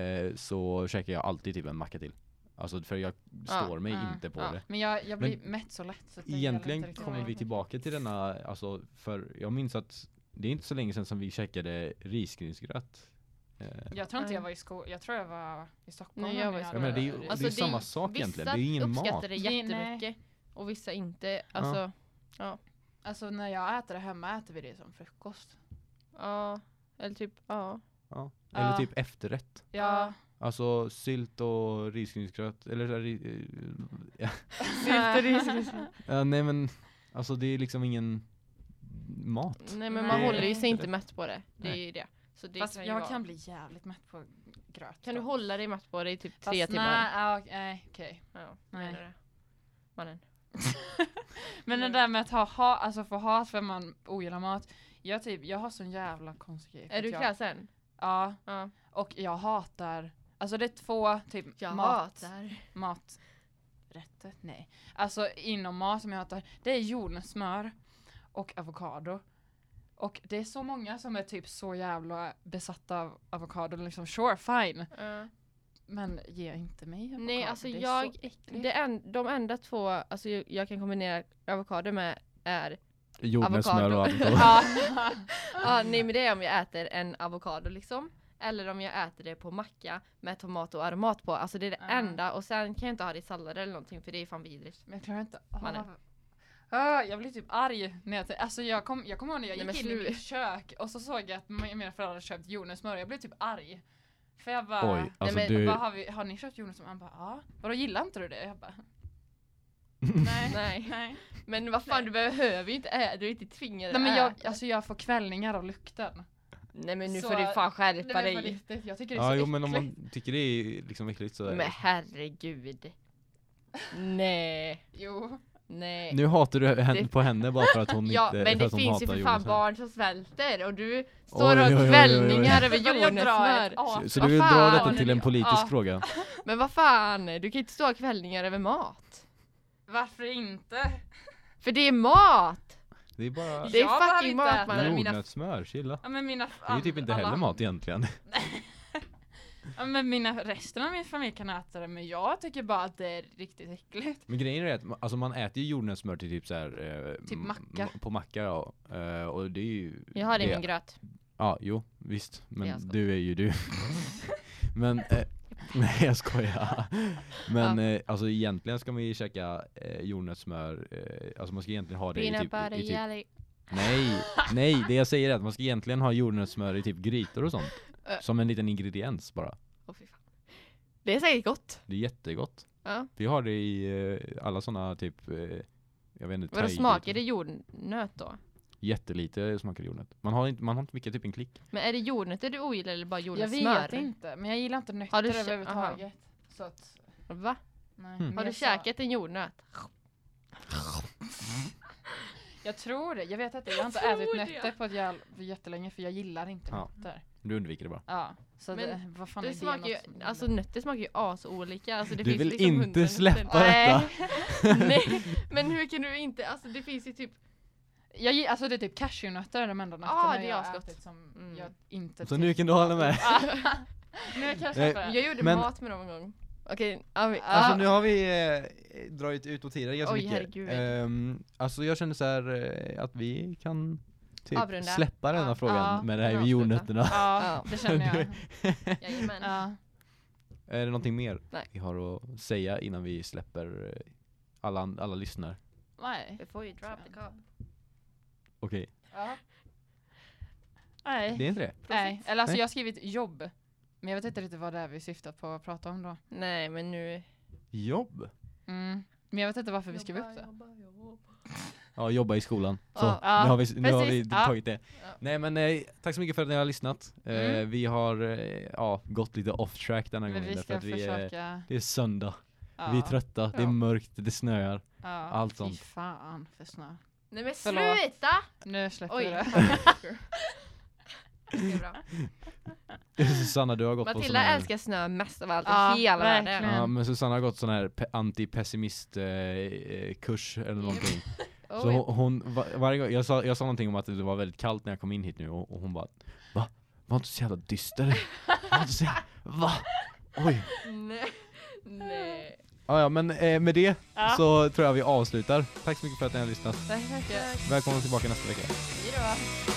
Speaker 2: eh, så käkade jag alltid typ en macka till. Alltså för jag
Speaker 3: Ja,
Speaker 2: står mig
Speaker 1: ja,
Speaker 2: inte på
Speaker 3: ja.
Speaker 2: det.
Speaker 1: men jag, jag blir mätt så lätt. Så att det gäller inte
Speaker 2: Egentligen
Speaker 1: riktigt
Speaker 2: kommer
Speaker 1: mig.
Speaker 2: vi tillbaka till denna, alltså för jag minns att det är inte så länge sedan som vi käkade risgrynsgröt. Eh,
Speaker 1: Jag tror inte jag
Speaker 3: Nej.
Speaker 1: var i skolan, jag tror jag var i Stockholm.
Speaker 3: Nej,
Speaker 1: när
Speaker 3: jag var i
Speaker 2: jag
Speaker 1: hade-
Speaker 2: menar det är ju det är
Speaker 3: Alltså,
Speaker 2: ju
Speaker 3: det är-
Speaker 2: samma sak egentligen, det är ju ingen
Speaker 3: Vissa
Speaker 2: mat.
Speaker 3: uppskattar det
Speaker 1: Det- nej.
Speaker 3: jättemycket och vissa inte. Alltså,
Speaker 1: Alltså när jag äter det hemma äter vi det som frukost.
Speaker 3: ja. Eller typ, ja.
Speaker 2: Ja. Eller
Speaker 1: Ja.
Speaker 2: typ efterrätt.
Speaker 1: Ja.
Speaker 2: Alltså sylt och risgrynsgröt, eller så här ri- eh, ja, eh, nej men alltså det är liksom ingen mat.
Speaker 3: Nej men man
Speaker 1: Nej.
Speaker 3: håller ju sig inte mätt på det. Det är
Speaker 2: Nej.
Speaker 3: ju det. Så det
Speaker 1: Fast
Speaker 3: kan ju
Speaker 1: jag
Speaker 3: vara.
Speaker 1: kan bli jävligt mätt på gröt.
Speaker 3: kan du
Speaker 1: då.
Speaker 3: hålla dig mätt på det i typ
Speaker 1: Fast
Speaker 3: tre timmar?
Speaker 1: Nej, ja, ok- nej okej.
Speaker 3: Ja,
Speaker 1: Nej.
Speaker 3: menar du det? Mannen.
Speaker 1: Men det där med att ha, ha alltså få hat för att man ogillar mat. Jag typ, jag har sån jävla konstig grej. för
Speaker 3: Är
Speaker 1: att
Speaker 3: du
Speaker 1: jag-
Speaker 3: kräsen?
Speaker 1: Ja,
Speaker 3: Ja.
Speaker 1: och jag hatar, alltså det är två typ mat. maträtter, nej. Alltså inom mat som jag hatar, det är jordnötssmör och avokado. Och det är så många som är typ så jävla besatta av avokado, liksom sure fine.
Speaker 3: Ja.
Speaker 1: Men ge inte mig avokado,
Speaker 3: Nej, alltså
Speaker 1: det är
Speaker 3: jag-
Speaker 1: så äckligt.
Speaker 3: Det en, de enda två alltså, jag- jag kan kombinera avokado med är
Speaker 2: Jordnötssmör
Speaker 3: Avokado.
Speaker 2: och avokado.
Speaker 1: Ja.
Speaker 3: Ja, ah, nej men det är om jag äter en avokado liksom. Eller om jag äter det på macka med tomat och aromat på. Alltså det är det
Speaker 1: Ah.
Speaker 3: enda. Och sen kan jag inte ha det i sallad eller någonting för det är fan vidrigt.
Speaker 1: Men jag klarar inte
Speaker 3: Mannen.
Speaker 1: av... Ah, jag blir typ arg när jag t- alltså jag kom, jag kommer ihåg när jag
Speaker 3: Nej,
Speaker 1: gick
Speaker 3: men
Speaker 1: in i
Speaker 3: slu-
Speaker 1: mitt kök och så såg jag att m- mina föräldrar hade köpt jordnötssmör jag blev typ arg. För jag bara,
Speaker 2: Oj, alltså
Speaker 3: men
Speaker 2: du,
Speaker 1: Bara, har, vi, har ni köpt jordnötssmör? Han bara ja. Vadå gillar inte du det? Jag bara nej.
Speaker 3: Nej.
Speaker 1: Nej.
Speaker 3: Men vad fan du behöver ju inte äta, du är inte tvingad
Speaker 1: nej men
Speaker 3: att
Speaker 1: jag,
Speaker 3: äta.
Speaker 1: alltså jag får kvällningar av lukten.
Speaker 3: Nej men nu
Speaker 1: så-
Speaker 3: får du fan
Speaker 1: Nej,
Speaker 3: skärpa
Speaker 1: men på
Speaker 3: dig.
Speaker 1: riktigt, jag tycker det är
Speaker 2: ja
Speaker 1: så
Speaker 2: jo men om
Speaker 1: äckligt.
Speaker 2: man tycker det är liksom äckligt så är
Speaker 3: Men
Speaker 2: det.
Speaker 3: herregud. Nej.
Speaker 1: Jo.
Speaker 3: Nej.
Speaker 2: Nu eh, hatar du henne
Speaker 3: Det-
Speaker 2: på henne bara för att hon
Speaker 3: ja
Speaker 2: inte,
Speaker 3: men
Speaker 2: för
Speaker 3: det
Speaker 2: att hon
Speaker 3: finns
Speaker 2: hatar
Speaker 3: ju för fan
Speaker 2: jordnötssmör.
Speaker 3: barn som svälter och du
Speaker 2: Oj,
Speaker 3: står
Speaker 2: oj, oj,
Speaker 3: och
Speaker 2: oj,
Speaker 3: har
Speaker 2: oj.
Speaker 3: kvällningar över
Speaker 1: Jag drar
Speaker 3: jordnötssmör.
Speaker 1: ett as.
Speaker 2: Så, så
Speaker 3: Vad
Speaker 2: du vill dra
Speaker 3: fan?
Speaker 2: detta till en politisk
Speaker 3: Ja.
Speaker 2: fråga?
Speaker 3: Men vad fan, du kan inte stå och kvällningar över mat.
Speaker 1: Varför inte?
Speaker 3: För det är mat!
Speaker 2: Det är bara
Speaker 3: Det är
Speaker 1: Jag behöver
Speaker 3: fucking
Speaker 1: inte
Speaker 3: mat,
Speaker 1: äta
Speaker 3: mannen.
Speaker 1: mina-
Speaker 2: jordnötssmör, chilla.
Speaker 1: Ja men mina
Speaker 2: Det är ju typ inte
Speaker 1: alla-
Speaker 2: heller mat egentligen.
Speaker 1: Ja, men mina, resten av min familj kan äta det men jag tycker bara att det är riktigt äckligt.
Speaker 2: Men grejen är att ma- alltså man äter ju jordnötssmör till typ så här, eh,
Speaker 1: Typ
Speaker 2: m-
Speaker 1: macka.
Speaker 2: m- På macka ja. Eh, och det är ju
Speaker 3: Jag har det i
Speaker 2: det-
Speaker 3: min gröt.
Speaker 2: Ja, jo, visst.
Speaker 3: Det är jag
Speaker 2: Men
Speaker 3: skojar.
Speaker 2: du är ju du. Men, eh, nej jag skojar. Men eh, alltså egentligen ska man ju käka eh, jordnötssmör, eh, alltså man ska egentligen ha det i
Speaker 3: Peanut
Speaker 2: typ,
Speaker 3: butter
Speaker 2: i, typ
Speaker 3: jelly.
Speaker 2: Nej, nej det jag säger är att man ska egentligen ha jordnötssmör i typ grytor och sånt.
Speaker 3: Eh.
Speaker 2: Som en liten ingrediens bara.
Speaker 3: Åh, fy fan. Det är säkert gott.
Speaker 2: Det är jättegott.
Speaker 3: Ja.
Speaker 2: Vi har det i eh, alla såna typ, eh, jag vet inte,
Speaker 3: Vadå
Speaker 2: thaigrytor.
Speaker 3: smakar det jordnöt då?
Speaker 2: Jättelite smakar det jordnöt. Man har inte, man har inte mycket, typ en klick.
Speaker 3: Men är det jordnötter du ogillar eller bara
Speaker 1: jag
Speaker 3: jordnötssmör?
Speaker 1: vet inte men jag gillar inte nötter
Speaker 3: Har du kä-
Speaker 1: överhuvudtaget. Så att,
Speaker 3: Va?
Speaker 1: nej.
Speaker 2: Mm.
Speaker 1: Men
Speaker 3: Har du
Speaker 1: jag sa-
Speaker 3: käkat en jordnöt?
Speaker 1: Jag tror det, jag vet inte. Jag har inte
Speaker 3: Jag
Speaker 1: ätit
Speaker 3: tror det.
Speaker 1: nötter på ett jäl- jättelänge för jag gillar inte
Speaker 2: Ja.
Speaker 1: nötter.
Speaker 2: Du undviker det bara.
Speaker 1: Ja, så
Speaker 3: Men
Speaker 1: det, vad fan är
Speaker 3: Det
Speaker 1: det
Speaker 3: smakar ju,
Speaker 1: något som-
Speaker 3: alltså nötter smakar ju asolika. Alltså, det
Speaker 2: Du
Speaker 3: finns
Speaker 2: vill
Speaker 3: liksom
Speaker 2: inte
Speaker 3: hundra
Speaker 2: släppa
Speaker 3: nötter.
Speaker 2: detta.
Speaker 3: Nej. Nej, men hur kan du inte? Alltså det finns ju typ
Speaker 1: Jag, gi- alltså det är typ cashewnötter är de enda nötterna
Speaker 3: det är
Speaker 1: jag har
Speaker 3: asgott.
Speaker 1: ätit som
Speaker 3: Mm.
Speaker 1: jag inte Ah.
Speaker 2: Så nu kan du hålla med.
Speaker 1: nu kan jag
Speaker 2: Nej.
Speaker 1: köpa det.
Speaker 3: Jag gjorde
Speaker 2: Men-
Speaker 3: mat med dem en gång. Okej, ja, vi-
Speaker 2: Alltså
Speaker 3: ah.
Speaker 2: nu har vi eh, dragit ut på tiden ganska
Speaker 3: Oj,
Speaker 2: mycket.
Speaker 3: herregud.
Speaker 2: Ehm, alltså jag känner så här eh, att vi kan typ
Speaker 3: Avrunda.
Speaker 2: släppa den här
Speaker 3: Ja.
Speaker 2: frågan
Speaker 1: Ja,
Speaker 2: med det här med
Speaker 3: kan avsluta.
Speaker 2: jordnötterna.
Speaker 1: Ja, det känner jag.
Speaker 3: Jajamän.
Speaker 1: Ja.
Speaker 2: Är det någonting mer
Speaker 3: Nej.
Speaker 2: vi har att säga innan vi släpper eh, alla, an- alla lyssnare?
Speaker 1: Nej.
Speaker 3: Before you drop the cup.
Speaker 2: Okej,
Speaker 1: Ja. Nej.
Speaker 2: det är inte det?
Speaker 1: Nej, eller alltså
Speaker 2: Nej.
Speaker 1: jag har skrivit jobb. Men jag vet inte riktigt vad det är vi syftar på att prata om då.
Speaker 3: Nej men nu...
Speaker 2: Jobb?
Speaker 1: Mm. Men jag vet inte varför vi skrev upp det.
Speaker 3: Jobba, jobba, jobba.
Speaker 2: Ja, jobba i skolan. Så,
Speaker 3: Ja.
Speaker 2: nu har vi, nu har vi
Speaker 1: Precis. Ja.
Speaker 2: tagit det.
Speaker 3: Ja.
Speaker 2: Nej men eh, tack så mycket för att ni har lyssnat. Eh,
Speaker 1: Mm.
Speaker 2: Vi har eh, ja, gått lite off track den här
Speaker 1: Men
Speaker 2: gången.
Speaker 1: vi
Speaker 2: därför
Speaker 1: ska
Speaker 2: att vi, är-
Speaker 1: försöka.
Speaker 2: det är söndag,
Speaker 1: Ja.
Speaker 2: vi är trötta, det är
Speaker 3: Ja.
Speaker 2: mörkt, det snöar.
Speaker 1: Ja.
Speaker 2: allt sånt.
Speaker 1: Fy fan för snö.
Speaker 3: Nej men
Speaker 1: Förlåt.
Speaker 3: sluta!
Speaker 1: Nu släpper
Speaker 3: Oj.
Speaker 1: vi det.
Speaker 3: Det är bra.
Speaker 2: Susanna du har gått på sån
Speaker 3: Matilda
Speaker 2: här...
Speaker 3: älskar snö mest av allt
Speaker 1: Ja,
Speaker 3: i hela världen.
Speaker 1: verkligen.
Speaker 2: Ja men Susanna har gått sån här pe- antipessimist eh, eh, kurs eller någonting.
Speaker 3: Oh,
Speaker 2: Så
Speaker 3: ja.
Speaker 2: hon, hon va, varje gång, jag sa, jag sa någonting om att det var väldigt kallt när jag kom in hit nu och, och hon bara Va? Var inte så jävla dyster? Var inte så jävla, va? Oj.
Speaker 3: Nej. Nej.
Speaker 2: Ja, ja men eh, med det
Speaker 1: Ja.
Speaker 2: så tror jag vi avslutar. Tack så mycket för att ni har lyssnat.
Speaker 1: Tack så mycket.
Speaker 2: Välkomna tillbaka nästa vecka.
Speaker 1: Hejdå.